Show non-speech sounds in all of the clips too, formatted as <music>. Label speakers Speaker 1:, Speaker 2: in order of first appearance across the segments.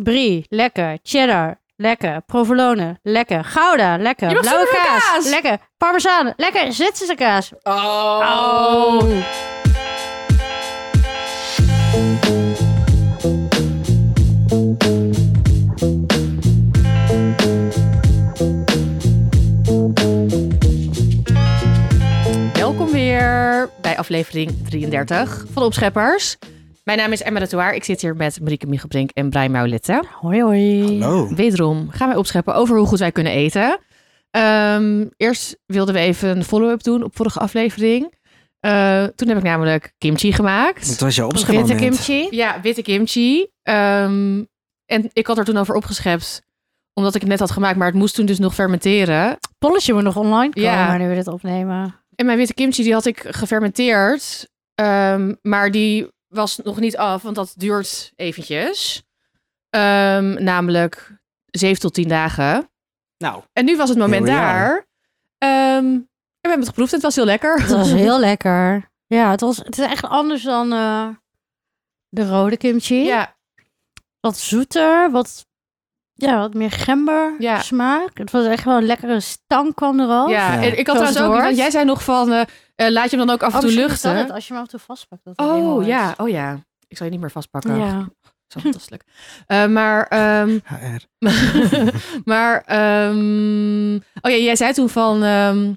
Speaker 1: Brie, lekker. Cheddar, lekker. Provolone, lekker. Gouda, lekker.
Speaker 2: Je mag
Speaker 1: Blauwe
Speaker 2: zoveel
Speaker 1: kaas,
Speaker 2: kaas.
Speaker 1: lekker. Parmezaan, lekker. Zwitserse kaas.
Speaker 2: Oh. Welkom weer bij aflevering 33 van Opscheppers. Mijn naam is Emma de Toir. Ik zit hier met Marieke Michelbrink en Brian Maulette.
Speaker 1: Hoi, hoi.
Speaker 2: Oh.
Speaker 3: Hallo.
Speaker 2: Wederom gaan wij opscheppen over hoe goed wij kunnen eten. Ehm, eerst wilden we even een follow-up doen op vorige aflevering. Eh, toen heb ik namelijk kimchi
Speaker 3: Het
Speaker 2: gemaakt.
Speaker 3: was je
Speaker 1: Witte
Speaker 3: opschepmoment.
Speaker 1: kimchi.
Speaker 2: Ja, witte kimchi. Ehm, en ik had er toen over opgeschept, omdat ik het net had gemaakt, maar het moest toen dus nog fermenteren.
Speaker 1: Polletje moet nog online komen
Speaker 2: Ja.
Speaker 1: nu we dit opnemen.
Speaker 2: En mijn witte kimchi die had ik gefermenteerd, ehm, maar die was nog niet af, want dat duurt eventjes. Ehm, namelijk 7 tot 10 dagen.
Speaker 3: Nou,
Speaker 2: En nu was het moment
Speaker 3: Here we are.
Speaker 2: daar. Ehm, en we hebben het geproefd. Het was heel lekker.
Speaker 1: Het
Speaker 2: <laughs>
Speaker 1: was heel lekker. Ja, het, was, het is echt anders dan eh, de rode kimchi.
Speaker 2: Ja,
Speaker 1: Wat zoeter, wat, ja, wat meer gember
Speaker 2: Ja.
Speaker 1: smaak. Het was echt wel een lekkere stank kwam er al.
Speaker 2: ja.
Speaker 3: Ja.
Speaker 2: En ik had
Speaker 1: Zoals
Speaker 2: trouwens ook...
Speaker 1: het hoort.
Speaker 2: want jij zei nog van, eh, eh, laat je hem dan ook af en
Speaker 1: Oh,
Speaker 2: toe
Speaker 1: misschien is dat
Speaker 2: luchten.
Speaker 1: het, als je hem af en toe vastpakt. Dat het helemaal
Speaker 2: oh,
Speaker 1: is.
Speaker 2: ja. Oh, ja. Ik zal je niet meer vastpakken. Ja.
Speaker 1: Ja.
Speaker 2: Zo fantastisch. Eh, maar... ehm, <laughs>
Speaker 3: HR.
Speaker 2: maar... ehm, oh ja, jij zei toen van... ehm,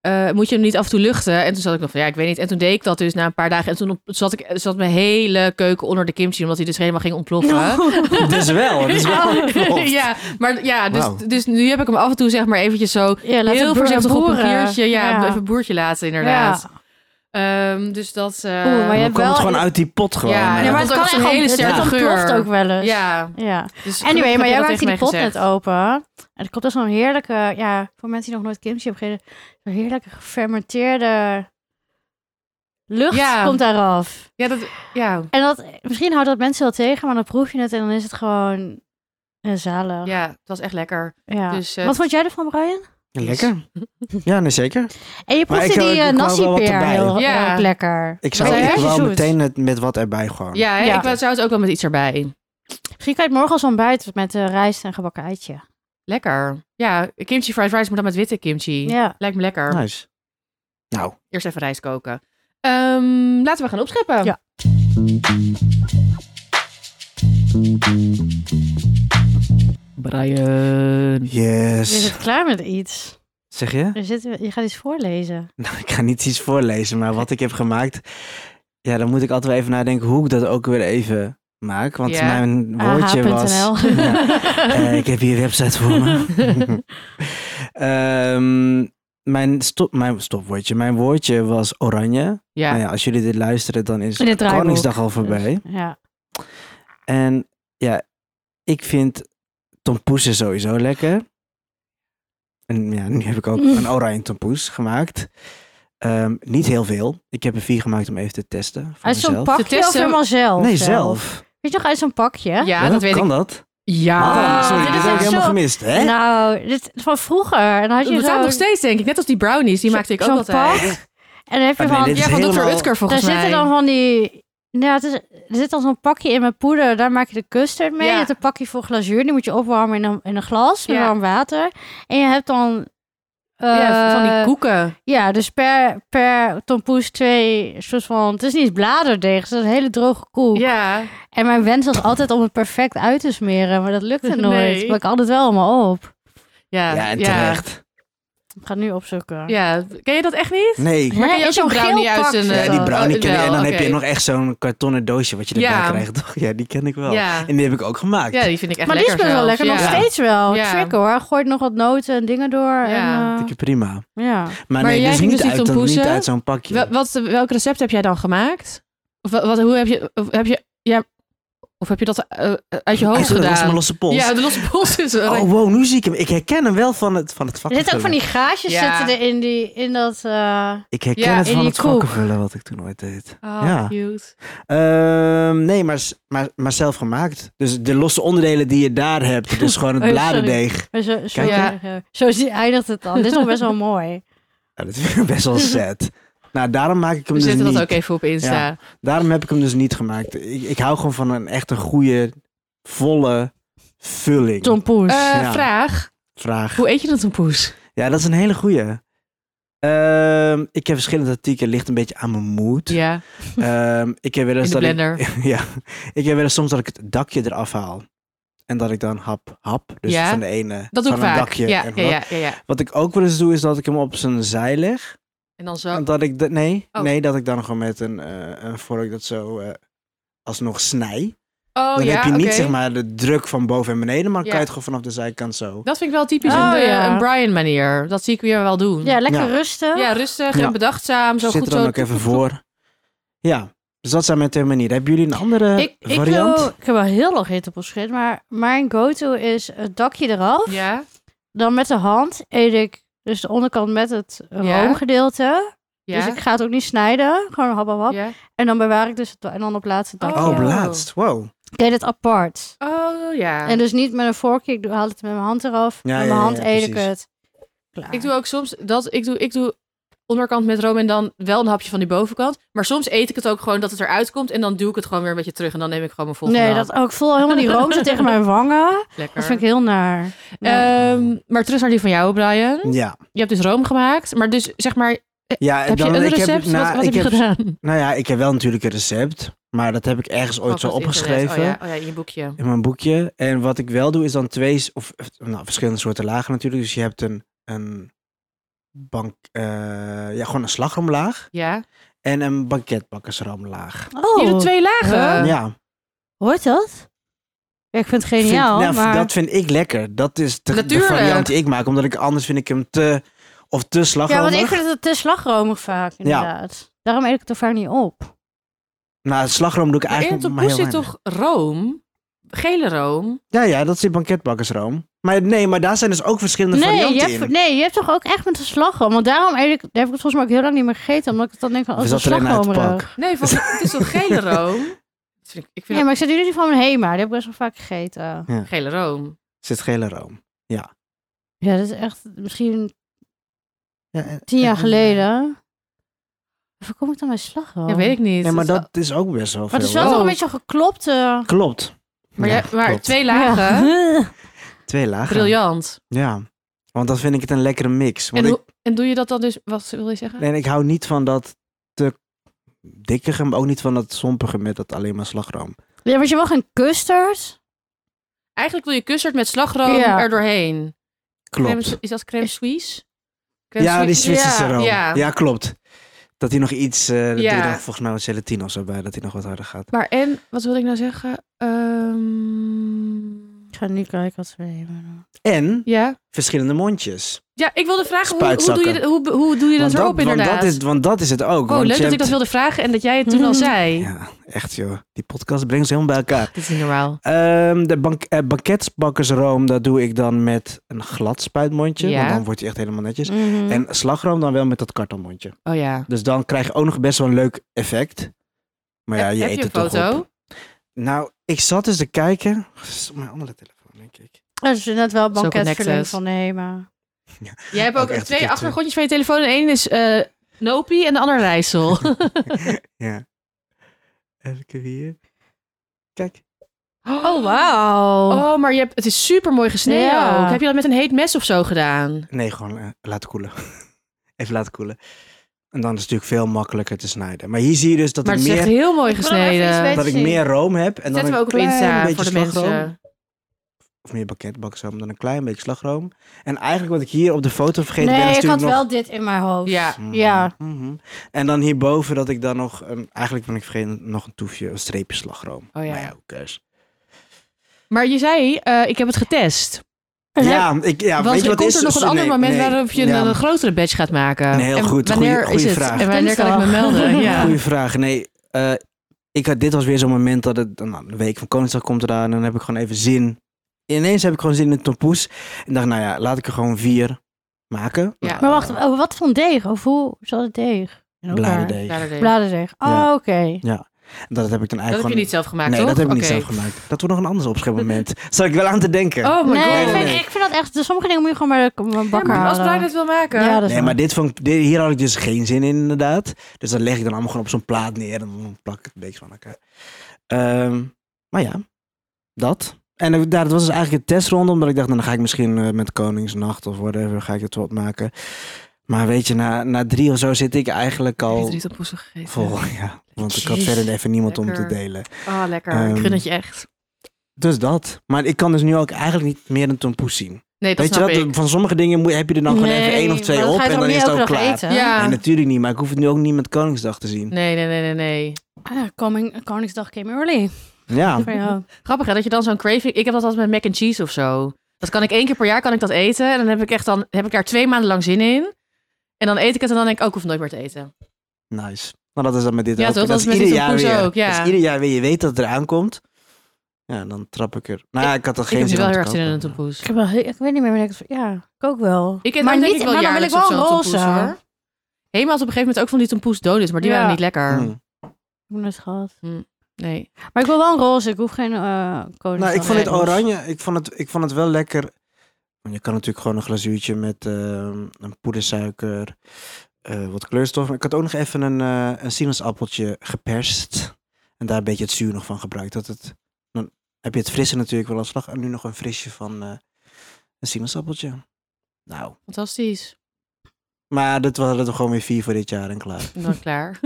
Speaker 2: eh, moet je hem niet af en toe luchten? En toen zat ik nog van, ja, ik weet niet. En toen deed ik dat dus na een paar dagen. En toen op- zat, ik, zat mijn hele keuken onder de kimchi. Omdat hij dus helemaal ging
Speaker 1: <laughs>
Speaker 2: ontploffen.
Speaker 3: <laughs> Dus
Speaker 2: <laughs>
Speaker 3: wel. Dus wel. Klopt.
Speaker 2: ja, maar ja, dus,
Speaker 3: Wauw.
Speaker 2: dus nu heb ik hem af en toe zeg maar eventjes zo
Speaker 1: ja laat het
Speaker 2: heel
Speaker 1: boer-
Speaker 2: voorzichtig op een
Speaker 1: boeren.
Speaker 2: papiertje. Ja,
Speaker 1: Ja.
Speaker 2: even een boertje laten inderdaad. Ehm, dus dat... eh,
Speaker 1: Oeh, maar
Speaker 3: Dan
Speaker 1: jij
Speaker 3: komt
Speaker 1: hebt wel-
Speaker 3: het gewoon uit die pot gewoon.
Speaker 2: Ja,
Speaker 3: eh.
Speaker 1: Ja, maar
Speaker 2: dat
Speaker 1: het
Speaker 2: was
Speaker 1: kan
Speaker 2: ook
Speaker 1: echt
Speaker 2: zo'n hele
Speaker 1: hele
Speaker 2: sterke
Speaker 1: sterke
Speaker 2: geur.
Speaker 1: ontploft ook wel eens.
Speaker 2: Ja,
Speaker 1: ja.
Speaker 2: dus
Speaker 1: Anyway,
Speaker 2: gelukkig
Speaker 1: maar jij
Speaker 2: heb je
Speaker 1: maakte die
Speaker 2: dat tegen
Speaker 1: pot
Speaker 2: mij
Speaker 1: net
Speaker 2: gezegd.
Speaker 1: open. En er komt dus zo'n heerlijke, ja, voor mensen die nog nooit kimchi hebben gegeten, zo'n heerlijke gefermenteerde lucht
Speaker 2: Ja.
Speaker 1: komt daaraf.
Speaker 2: Ja, dat, ja,
Speaker 1: En dat, misschien houdt dat mensen wel tegen, maar dan proef je het en dan is het gewoon eh, zalig. Ja.
Speaker 2: ja, het was echt lekker. dus, eh,
Speaker 1: Wat vond jij ervan, Brian?
Speaker 3: Lekker. Ja, nee, zeker.
Speaker 1: En je
Speaker 3: Maar
Speaker 1: proefde
Speaker 3: ik, eh,
Speaker 1: die
Speaker 3: ik
Speaker 1: uh,
Speaker 3: wou wel wat
Speaker 1: nasi-peer
Speaker 3: erbij.
Speaker 1: heel
Speaker 2: Ja.
Speaker 1: erg lekker.
Speaker 3: Ik zou
Speaker 1: Dat is
Speaker 3: ik
Speaker 1: erg
Speaker 3: wel
Speaker 1: zoet.
Speaker 3: meteen het, met wat erbij gewoon.
Speaker 2: Ja, hè,
Speaker 1: Ja.
Speaker 2: ik wou- zou het ook wel met iets erbij.
Speaker 1: Misschien kan je het morgen als ontbijt met eh, rijst en gebakken eitje.
Speaker 2: Lekker. Ja, kimchi fried rice, maar dan met witte kimchi.
Speaker 1: Ja.
Speaker 2: Lijkt me lekker.
Speaker 3: Nice. Nou,
Speaker 2: Eerst even rijst koken. Ehm, laten we gaan opscheppen.
Speaker 1: Ja.
Speaker 2: Brian.
Speaker 1: Je
Speaker 3: yes.
Speaker 1: zit
Speaker 3: <laughs>
Speaker 1: klaar met iets.
Speaker 3: Zeg je?
Speaker 1: Er zit, je gaat iets voorlezen.
Speaker 3: Nou, ik ga niet iets voorlezen, maar wat ik heb gemaakt... Ja, dan moet ik altijd wel even nadenken hoe ik dat ook weer even maak. Want
Speaker 2: Ja.
Speaker 3: mijn woordje
Speaker 1: Ah, <laughs>
Speaker 3: was...
Speaker 1: AH.nl.
Speaker 3: Ja. Eh, ik heb hier een website voor me. Ehm, mijn, stop, mijn stopwoordje, mijn woordje was oranje.
Speaker 2: Ja.
Speaker 3: Nou ja, als jullie dit luisteren, dan is
Speaker 1: In het draaiboek. Dus.
Speaker 3: Koningsdag al voorbij.
Speaker 1: Ja.
Speaker 3: En ja, ik vind tompoesen sowieso lekker. En ja, nu heb ik ook
Speaker 1: Mm.
Speaker 3: een oranje tompoes gemaakt. Ehm, niet heel veel. Ik heb er vier gemaakt om even te testen. Voor
Speaker 1: Uit zo'n
Speaker 3: mezelf.
Speaker 2: Te
Speaker 1: pakje of
Speaker 2: testen-
Speaker 1: helemaal zelf?
Speaker 3: Nee, zelf.
Speaker 1: Weet je nog, uit zo'n pakje?
Speaker 2: Ja,
Speaker 3: Ja,
Speaker 2: dat weet
Speaker 3: kan
Speaker 2: ik.
Speaker 3: dat?
Speaker 2: Ja.
Speaker 3: Ah, sorry,
Speaker 1: dit
Speaker 3: dit
Speaker 1: is
Speaker 3: heb ik
Speaker 1: echt
Speaker 3: helemaal
Speaker 1: zo-
Speaker 3: gemist. Hè?
Speaker 1: Nou, dit is van vroeger. En dan had
Speaker 2: Dat
Speaker 1: je
Speaker 2: bestaat
Speaker 1: zo,
Speaker 2: nog steeds, denk ik. Net als die brownies, die maakte ik ook
Speaker 1: zo'n
Speaker 2: altijd.
Speaker 1: pak. En dan heb je
Speaker 3: Ah, nee,
Speaker 1: van...
Speaker 3: dit is
Speaker 2: Ja, van
Speaker 3: helemaal-
Speaker 2: Dr. Utker
Speaker 1: daar
Speaker 2: volgens mij.
Speaker 1: zitten dan van die... Nou, het is, er zit dan zo'n pakje in met poeder. Daar maak je de custard mee.
Speaker 2: Ja.
Speaker 1: Je hebt een pakje voor glazuur. Die moet je opwarmen in een, in een glas met
Speaker 2: Ja.
Speaker 1: warm water. En je hebt dan... eh,
Speaker 2: ja, van die koeken.
Speaker 1: Ja, dus per, per tompoes twee soort van... Het is niet eens bladerdeeg. Het is een hele droge koek.
Speaker 2: Ja.
Speaker 1: En mijn wens was altijd om het perfect uit te smeren. Maar dat lukte nooit.
Speaker 2: Nee.
Speaker 1: Maar ik had het wel allemaal op.
Speaker 2: Ja,
Speaker 3: Ja, en terecht.
Speaker 1: Ik ga het nu opzoeken.
Speaker 2: Ja. Ken je dat echt niet?
Speaker 3: Nee.
Speaker 1: Maar
Speaker 2: ken je ook zo'n brownie uit een, eh,
Speaker 3: Ja, die
Speaker 2: Oh,
Speaker 3: brownie
Speaker 2: oh,
Speaker 3: ken ik.
Speaker 2: wel,
Speaker 3: En dan
Speaker 2: oké.
Speaker 3: heb je nog echt zo'n kartonnen doosje wat je erbij
Speaker 2: Ja.
Speaker 3: krijgt, toch? Ja, die ken ik wel.
Speaker 2: Ja.
Speaker 3: En die heb ik ook gemaakt.
Speaker 2: ja, die vind ik echt
Speaker 1: Maar die is
Speaker 2: lekker
Speaker 1: best wel
Speaker 2: zelfs.
Speaker 1: lekker. Nog
Speaker 2: Ja.
Speaker 1: steeds wel.
Speaker 2: Ja.
Speaker 1: Trick hoor. Gooit nog wat noten en dingen door.
Speaker 2: Ja.
Speaker 1: En, eh,
Speaker 3: Dikke prima.
Speaker 1: ja.
Speaker 3: Maar,
Speaker 2: Maar
Speaker 3: nee,
Speaker 2: jij
Speaker 3: dus
Speaker 2: ging
Speaker 3: niet,
Speaker 2: dus niet
Speaker 3: uit, dat-
Speaker 2: tompoesen?
Speaker 3: niet uit zo'n pakje.
Speaker 2: Wel- Wat, welk recept heb jij dan gemaakt? Of wa- wat, hoe heb je, of heb je, ja, of heb je dat eh, uit je hoofd
Speaker 3: Eigenlijk was
Speaker 2: gedaan?
Speaker 3: mijn losse pols.
Speaker 2: Ja, de losse pols is er.
Speaker 3: oh, wow, nu zie ik hem. Ik herken hem wel van het, van het
Speaker 1: Er
Speaker 3: vakken
Speaker 1: zitten ook van die gaasjes
Speaker 2: Ja.
Speaker 1: zitten er in, die, in dat... eh,
Speaker 3: Ik herken
Speaker 2: Ja,
Speaker 3: het
Speaker 1: in
Speaker 3: van
Speaker 1: die
Speaker 3: het vakken
Speaker 1: koek.
Speaker 3: vullen wat ik toen ooit deed.
Speaker 2: Oh,
Speaker 3: Ja.
Speaker 2: cute.
Speaker 3: Ehm, nee, maar, s- maar, maar zelf gemaakt. Dus de losse onderdelen die je daar hebt.
Speaker 2: <laughs>
Speaker 3: Dus gewoon het
Speaker 1: Oh, sorry.
Speaker 3: bladerdeeg.
Speaker 1: zo, zo,
Speaker 2: Kijk.
Speaker 1: eh, zo zie- eindigt het dan. Dit is nog best wel mooi.
Speaker 3: Nou, dat vind ik best
Speaker 2: <laughs>
Speaker 3: wel sad. Nou, daarom maak ik hem
Speaker 2: We
Speaker 3: dus
Speaker 2: zetten
Speaker 3: niet.
Speaker 2: dat ook even op Insta. Eh,
Speaker 3: Daarom heb ik hem dus niet gemaakt. Ik, ik hou gewoon van een echt een goede volle vulling.
Speaker 1: Tompoes.
Speaker 2: Eh,
Speaker 3: Ja.
Speaker 2: Vraag,
Speaker 3: Vraag.
Speaker 2: hoe eet je dat een poes?
Speaker 3: Ja, dat is een hele goeie. Ehm, ik heb verschillende tactieken, ligt een beetje aan mijn moed.
Speaker 2: Ja,
Speaker 3: Ehm, ik heb wel
Speaker 2: in
Speaker 3: eens
Speaker 2: de
Speaker 3: dat ik-
Speaker 2: blender.
Speaker 3: <laughs> ja, ik heb wel eens soms dat ik het dakje eraf haal. En dat ik dan hap, hap. Dus
Speaker 2: Ja,
Speaker 3: van de ene,
Speaker 2: Dat doe ik
Speaker 3: van een
Speaker 2: vaak.
Speaker 3: dakje.
Speaker 2: Ja,
Speaker 3: en
Speaker 2: ja,
Speaker 3: wat.
Speaker 2: ja, ja, ja.
Speaker 3: Wat ik ook wel eens doe, is dat ik hem op zijn zij leg.
Speaker 2: En dan zo.
Speaker 3: En dat ik, de- nee,
Speaker 2: Oh.
Speaker 3: nee, dat ik dan gewoon met een, eh een vork dat zo eh, alsnog snij.
Speaker 2: Oh
Speaker 3: dan
Speaker 2: ja,
Speaker 3: heb je niet
Speaker 2: oké.
Speaker 3: zeg maar de druk van boven en beneden, maar
Speaker 2: Ja.
Speaker 3: kan je het gewoon vanaf de zijkant zo.
Speaker 2: Dat vind ik wel typisch een,
Speaker 1: Oh,
Speaker 2: eh,
Speaker 1: ja.
Speaker 2: een Brian manier. Dat zie ik weer wel doen.
Speaker 1: ja, lekker
Speaker 3: Ja.
Speaker 1: rusten.
Speaker 2: Ja, rustig
Speaker 3: Ja.
Speaker 2: en bedachtzaam. Zo
Speaker 3: Zit
Speaker 2: goed
Speaker 3: er dan
Speaker 2: zo.
Speaker 3: ook even voor. Ja, dus dat zijn mijn twee manieren. Hebben jullie een andere
Speaker 1: Ik, ik,
Speaker 3: Eh, variant?
Speaker 2: oh.
Speaker 1: wil- ik heb wel heel lang hittepoes gegeten, maar mijn go-to is het dakje eraf.
Speaker 2: Ja,
Speaker 1: Dan met de hand eet ik dus de onderkant met het
Speaker 2: Ja.
Speaker 1: roomgedeelte.
Speaker 2: ja.
Speaker 1: Dus ik ga het ook niet snijden. Gewoon hap, hap, hap.
Speaker 2: ja.
Speaker 1: En dan bewaar ik dus het, en dan op laatste het dakje.
Speaker 3: Oh, op
Speaker 2: Ja.
Speaker 3: laatst. Wow.
Speaker 1: Ik eet het apart.
Speaker 2: Oh ja.
Speaker 1: En dus niet met een vorkje. Ik doe, haal het met mijn hand eraf. met
Speaker 3: Ja, ja,
Speaker 1: mijn
Speaker 3: ja,
Speaker 1: hand
Speaker 3: ja,
Speaker 1: eet ik
Speaker 3: precies.
Speaker 1: het. Klaar.
Speaker 2: Ik doe ook soms dat. Ik doe, ik doe onderkant met room en dan wel een hapje van die bovenkant. Maar soms eet ik het ook gewoon dat het eruit komt. En dan duw ik het gewoon weer een beetje terug. En dan neem ik gewoon mijn volgende
Speaker 1: Nee,
Speaker 2: hap.
Speaker 1: dat, oh, ik voel helemaal die room zo tegen mijn wangen.
Speaker 2: lekker.
Speaker 1: Dat vind ik heel naar. Ja.
Speaker 2: Ehm, maar terug naar die van jou, Brian.
Speaker 3: Ja.
Speaker 2: Je hebt dus room gemaakt. Maar dus zeg maar,
Speaker 3: ja
Speaker 2: heb je
Speaker 3: dan-
Speaker 2: een
Speaker 3: ik
Speaker 2: recept?
Speaker 3: nou,
Speaker 2: wat wat
Speaker 3: ik
Speaker 2: heb je
Speaker 3: heb-
Speaker 2: gedaan?
Speaker 3: Nou ja, ik heb wel natuurlijk een recept. Maar dat heb ik ergens ooit
Speaker 2: Oh,
Speaker 3: zo
Speaker 2: van het internet.
Speaker 3: opgeschreven.
Speaker 2: Oh ja, oh ja, in je boekje.
Speaker 3: in mijn boekje. En wat ik wel doe is dan twee, s- of eh, nou, verschillende soorten lagen natuurlijk. Dus je hebt een, een bank, eh, ja, gewoon een slagroomlaag
Speaker 2: Ja.
Speaker 3: en een banketbakkersroomlaag.
Speaker 1: Oh,
Speaker 2: Je doet twee lagen.
Speaker 3: ja,
Speaker 1: hoort dat? Ja, ik vind het
Speaker 3: vind-
Speaker 1: geniaal,
Speaker 3: nou, v-
Speaker 1: maar...
Speaker 3: dat vind ik lekker. Dat is de, de
Speaker 2: Natuurlijk.
Speaker 3: variant die ik maak, omdat ik anders vind ik hem te, of te
Speaker 1: ja, want
Speaker 3: slagroomig.
Speaker 1: ik vind het te slagromig vaak, inderdaad. Daarom eet ik het er vaak niet op.
Speaker 3: Nou, slagroom doe ik
Speaker 2: Maar in
Speaker 3: eigenlijk
Speaker 2: het
Speaker 3: maar heel
Speaker 2: tompoes zit
Speaker 3: weinig.
Speaker 2: toch room? Gele room?
Speaker 3: Ja, ja, dat zit banketbakkersroom. Maar nee, maar daar zijn dus ook verschillende
Speaker 1: Nee je,
Speaker 3: varianten in.
Speaker 1: hebt, nee, je hebt toch ook echt met een slagroom? Want daarom eet ik, daar heb ik het volgens mij ook heel lang niet meer gegeten. Omdat ik dan denk van, oh,
Speaker 3: We
Speaker 1: het is
Speaker 3: zaten
Speaker 1: een
Speaker 3: alleen uit het
Speaker 1: slagroom.
Speaker 3: pak.
Speaker 2: Nee, volgens mij- het is toch
Speaker 3: <laughs>
Speaker 2: gele room? Dat vind ik, ik vind
Speaker 1: Nee, maar ik zet jullie van mijn Hema. Die heb ik best wel vaak gegeten.
Speaker 2: dat gele room.
Speaker 3: Zit gele room.
Speaker 1: Ja, dat is echt misschien
Speaker 3: Ja, eh, en-
Speaker 1: tien jaar
Speaker 3: en-
Speaker 1: geleden. Waar kom ik dan mijn slagroom?
Speaker 2: Ja, weet ik niet.
Speaker 3: Nee, maar
Speaker 2: Dat is-
Speaker 3: dat is ook best wel
Speaker 1: Maar
Speaker 3: veel.
Speaker 1: het is wel
Speaker 2: Oh.
Speaker 1: toch een beetje geklopt. eh,
Speaker 3: Klopt.
Speaker 2: Maar,
Speaker 3: Ja,
Speaker 2: jij- maar
Speaker 3: klopt.
Speaker 2: twee lagen,
Speaker 1: Ja.
Speaker 3: Twee lagen.
Speaker 2: briljant.
Speaker 3: Ja, want dan vind ik het een lekkere mix. Want
Speaker 2: En,
Speaker 3: ik,
Speaker 2: hoe- en doe je dat dan dus, wat wil je zeggen?
Speaker 3: nee, en ik hou niet van dat te dikkige, maar ook niet van dat sompige met dat alleen maar slagroom.
Speaker 1: <laughs> Ja, want je mag een custard.
Speaker 2: Eigenlijk wil je custard met slagroom
Speaker 1: Ja.
Speaker 2: er doorheen.
Speaker 3: Klopt.
Speaker 2: Crème- is dat crème suisse? Crème
Speaker 3: Ja, die
Speaker 2: suisse?
Speaker 3: Zwitserse
Speaker 2: ja,
Speaker 3: room.
Speaker 2: Ja.
Speaker 3: Ja. klopt. Dat hij nog iets, eh dat
Speaker 2: Ja.
Speaker 3: doe je dan volgens mij wat gelatine of zo bij, dat hij nog wat harder gaat.
Speaker 2: Maar en, wat wil ik nou zeggen? Ehm,
Speaker 1: Ik ga nu kijken wat ze hebben.
Speaker 3: En
Speaker 2: ja.
Speaker 3: verschillende mondjes.
Speaker 2: ja, ik wilde vragen, hoe, hoe, doe, je,
Speaker 3: Spuitzakken.
Speaker 2: hoe, hoe doe je dat
Speaker 3: want,
Speaker 2: erop
Speaker 3: want
Speaker 2: inderdaad?
Speaker 3: dat is, want dat is het ook.
Speaker 2: Oh,
Speaker 3: want
Speaker 2: leuk
Speaker 3: je
Speaker 2: dat ik dat
Speaker 3: hebt-
Speaker 2: wilde vragen en dat jij het toen <laughs> al zei.
Speaker 3: Ja, echt joh. Die podcast brengt ze helemaal bij elkaar.
Speaker 2: Dit is niet normaal.
Speaker 3: Ehm, de bank, eh, banketbakkersroom, dat doe ik dan met een glad spuitmondje.
Speaker 2: Ja.
Speaker 3: Want dan wordt hij echt helemaal netjes.
Speaker 1: Mhm.
Speaker 3: En slagroom dan wel met dat kartonmondje.
Speaker 2: Oh ja.
Speaker 3: Dus dan krijg je ook nog best wel een leuk effect. Maar ja, je
Speaker 2: Heb
Speaker 3: eet
Speaker 2: je een
Speaker 3: het toch
Speaker 2: foto?
Speaker 3: op. Nou, ik zat dus te kijken. Dat is op mijn andere telefoon, denk ik.
Speaker 1: Dat is net wel
Speaker 2: Zo
Speaker 1: banketverlening
Speaker 2: connected.
Speaker 1: van de Hema.
Speaker 2: Jij hebt ook,
Speaker 3: Ook echt een
Speaker 2: twee
Speaker 3: keer
Speaker 2: achtergrondjes van je telefoon. En één is eh Nopie en de ander
Speaker 3: <laughs>
Speaker 2: Rijssel.
Speaker 3: ja. Even hier. Kijk.
Speaker 1: Oh, wauw.
Speaker 2: Oh, maar je hebt, het is super mooi gesneden
Speaker 1: Ja.
Speaker 2: ook. Heb je dat met een heet mes of zo gedaan?
Speaker 3: Nee, gewoon eh, laten koelen. <laughs> Even laten koelen. En dan is het natuurlijk veel makkelijker te snijden. Maar hier zie je dus dat
Speaker 2: maar
Speaker 3: ik
Speaker 2: het is echt
Speaker 3: meer,
Speaker 2: heel mooi
Speaker 1: Ik wil hem even iets
Speaker 2: gesneden.
Speaker 1: weten.
Speaker 2: Dat
Speaker 3: dat ik
Speaker 1: zien.
Speaker 3: meer room heb. En dan
Speaker 2: zetten we
Speaker 3: een
Speaker 2: ook op Insta
Speaker 3: klein beetje
Speaker 2: voor de mensen.
Speaker 3: slagroom. Of meer banketbakkersroom dan een klein beetje slagroom. En eigenlijk wat ik hier op de foto vergeten ben is
Speaker 1: Nee, ik had
Speaker 3: natuurlijk nog...
Speaker 1: wel dit in mijn hoofd.
Speaker 2: Ja.
Speaker 3: Mhm,
Speaker 1: Ja.
Speaker 3: mhm. En dan hierboven dat ik dan nog, een, eigenlijk ben ik vergeten, nog een toefje, een streepje slagroom.
Speaker 2: Oh ja.
Speaker 3: Maar Nou ja, who
Speaker 2: <laughs>
Speaker 3: cares?
Speaker 2: Maar je zei, eh, ik heb het getest.
Speaker 3: Ja, ik, ja
Speaker 2: Want
Speaker 3: weet je
Speaker 2: er
Speaker 3: wat
Speaker 2: komt
Speaker 3: is
Speaker 2: er nog een
Speaker 3: Nee,
Speaker 2: ander moment
Speaker 3: nee,
Speaker 2: waarop je
Speaker 3: ja.
Speaker 2: een, eh, een grotere badge gaat maken.
Speaker 3: Nee, heel
Speaker 2: en
Speaker 3: goed. Goeie-
Speaker 2: Wanneer
Speaker 3: goeie
Speaker 2: is
Speaker 3: vraag.
Speaker 2: het? En wanneer kan ik me
Speaker 1: Dinsdag.
Speaker 2: melden? Ja.
Speaker 3: Goeie vraag. Nee, eh, ik had, dit was weer zo'n moment dat het, nou, de week van Koningsdag komt eraan en dan heb ik gewoon even zin. Ineens heb ik gewoon zin in een tompoes. En dacht, nou ja, laat ik er gewoon vier maken.
Speaker 2: Ja.
Speaker 3: Nou,
Speaker 1: Maar wacht, oh, wat voor een deeg? Of hoe zat het deeg? In elkaar?
Speaker 3: bladerdeeg.
Speaker 2: Bladerdeeg.
Speaker 1: Bladerdeeg. Oh,
Speaker 3: Ja.
Speaker 1: oké.
Speaker 3: Dat heb ik dan eigenlijk
Speaker 2: Dat heb
Speaker 3: gewoon...
Speaker 2: je niet zelf gemaakt,
Speaker 3: nee,
Speaker 2: toch?
Speaker 3: dat heb ik
Speaker 2: Oké.
Speaker 3: niet zelf gemaakt. Dat wordt nog een
Speaker 2: <laughs>
Speaker 3: ander opschepmoment. Zal ik wel aan te denken.
Speaker 2: Oh my
Speaker 1: nee,
Speaker 2: god.
Speaker 3: Nee,
Speaker 1: ik,
Speaker 3: nee,
Speaker 1: vind,
Speaker 3: nee.
Speaker 1: ik vind dat echt... Sommige dingen moet je gewoon bij de bij de
Speaker 2: Ja,
Speaker 1: bakker
Speaker 2: maar als Brian
Speaker 1: halen.
Speaker 2: het wil maken.
Speaker 1: Ja, dat is
Speaker 3: nee,
Speaker 1: waar.
Speaker 3: maar dit vond, ik- dit- hier had ik dus geen zin in inderdaad. Dus dat leg ik dan allemaal gewoon op zo'n plaat neer en dan plak ik het een beetje van elkaar. Ehm, maar ja, dat. En ik- daar, dat was dus eigenlijk een testronde, omdat ik dacht, nou, dan ga ik misschien eh, met Koningsnacht of whatever, ga ik het wat maken. Maar weet je, na, na drie of zo zit ik eigenlijk
Speaker 2: Ik heb
Speaker 3: al
Speaker 2: er niet op poes gegeten.
Speaker 3: vol, <laughs> ja. Want ik had
Speaker 2: Jeez.
Speaker 3: verder even niemand om te
Speaker 2: Lekker.
Speaker 3: delen.
Speaker 2: Ah, lekker.
Speaker 3: Ehm,
Speaker 2: ik gun het je echt.
Speaker 3: Dus dat. Maar ik kan dus nu ook eigenlijk niet meer een tompoes zien.
Speaker 2: Nee, dat
Speaker 3: weet je
Speaker 2: snap
Speaker 3: dat?
Speaker 2: ik.
Speaker 3: Van sommige dingen moet- heb je er dan gewoon even één of twee op en dan is het ook klaar.
Speaker 2: Ja.
Speaker 3: Nee, natuurlijk niet. Maar ik hoef het nu ook niet met Koningsdag te zien.
Speaker 2: Nee, nee, nee, nee, nee.
Speaker 1: Coming, Ah, Koningsdag came early.
Speaker 3: Ja.
Speaker 1: Voor jou.
Speaker 2: Grappig hè, dat je dan zo'n craving... Ik heb dat altijd met mac and cheese of zo. Dat kan ik één keer per jaar kan ik dat eten. En dan heb ik, echt dan, heb ik daar twee maanden lang zin in. En dan eet ik het en dan denk ik, ook ik hoef nooit meer te eten.
Speaker 3: Nice. Maar dat is dan met dit
Speaker 2: Ja,
Speaker 3: ook.
Speaker 2: toch?
Speaker 3: En
Speaker 2: Dat
Speaker 3: is
Speaker 2: is met
Speaker 3: ieder
Speaker 2: die
Speaker 3: jaar
Speaker 2: tompoes
Speaker 3: weer.
Speaker 2: ook, ja.
Speaker 3: Dat is ieder jaar weer. Je weet dat het eraan komt. Ja, dan trap ik er. Nou, ja, ik had er
Speaker 2: ik
Speaker 3: geen
Speaker 2: heb nu
Speaker 3: zin
Speaker 2: wel
Speaker 3: om
Speaker 2: heel
Speaker 3: te
Speaker 2: erg zin in
Speaker 3: kopen.
Speaker 2: een tompoes.
Speaker 1: Ik, heb wel, heel- ik weet niet meer wanneer ik het... Ja, ik ook wel.
Speaker 2: Ik eet
Speaker 1: maar
Speaker 2: ook denk
Speaker 1: niet,
Speaker 2: ik wel
Speaker 1: maar dan wil ik wel
Speaker 2: jaarlijks
Speaker 1: een
Speaker 2: of zo
Speaker 1: roze.
Speaker 2: tompoes, hoor. Helemaal had op een gegeven moment ook van die tompoes donuts, maar die
Speaker 1: Ja.
Speaker 2: waren niet lekker.
Speaker 3: Mm.
Speaker 1: Ik heb het gehad.
Speaker 2: Nee.
Speaker 1: Maar ik wil wel een roze. Ik hoef geen eh koningsdag.
Speaker 3: Nou, ik vond
Speaker 2: Nee,
Speaker 3: het oranje. Ik vond het, ik vond het wel lekker. Want je kan natuurlijk gewoon een glazuurtje met ehm, een poedersuiker, eh, wat kleurstof. Maar ik had ook nog even een, eh, een sinaasappeltje geperst. En daar een beetje het zuur nog van gebruikt. Dat het, dan heb je het frisse natuurlijk wel als slag. En nu nog een frisje van eh, een sinaasappeltje. Nou,
Speaker 2: Fantastisch.
Speaker 3: maar dat waren er gewoon weer vier voor dit jaar en klaar.
Speaker 2: En dan
Speaker 1: <laughs>
Speaker 2: klaar.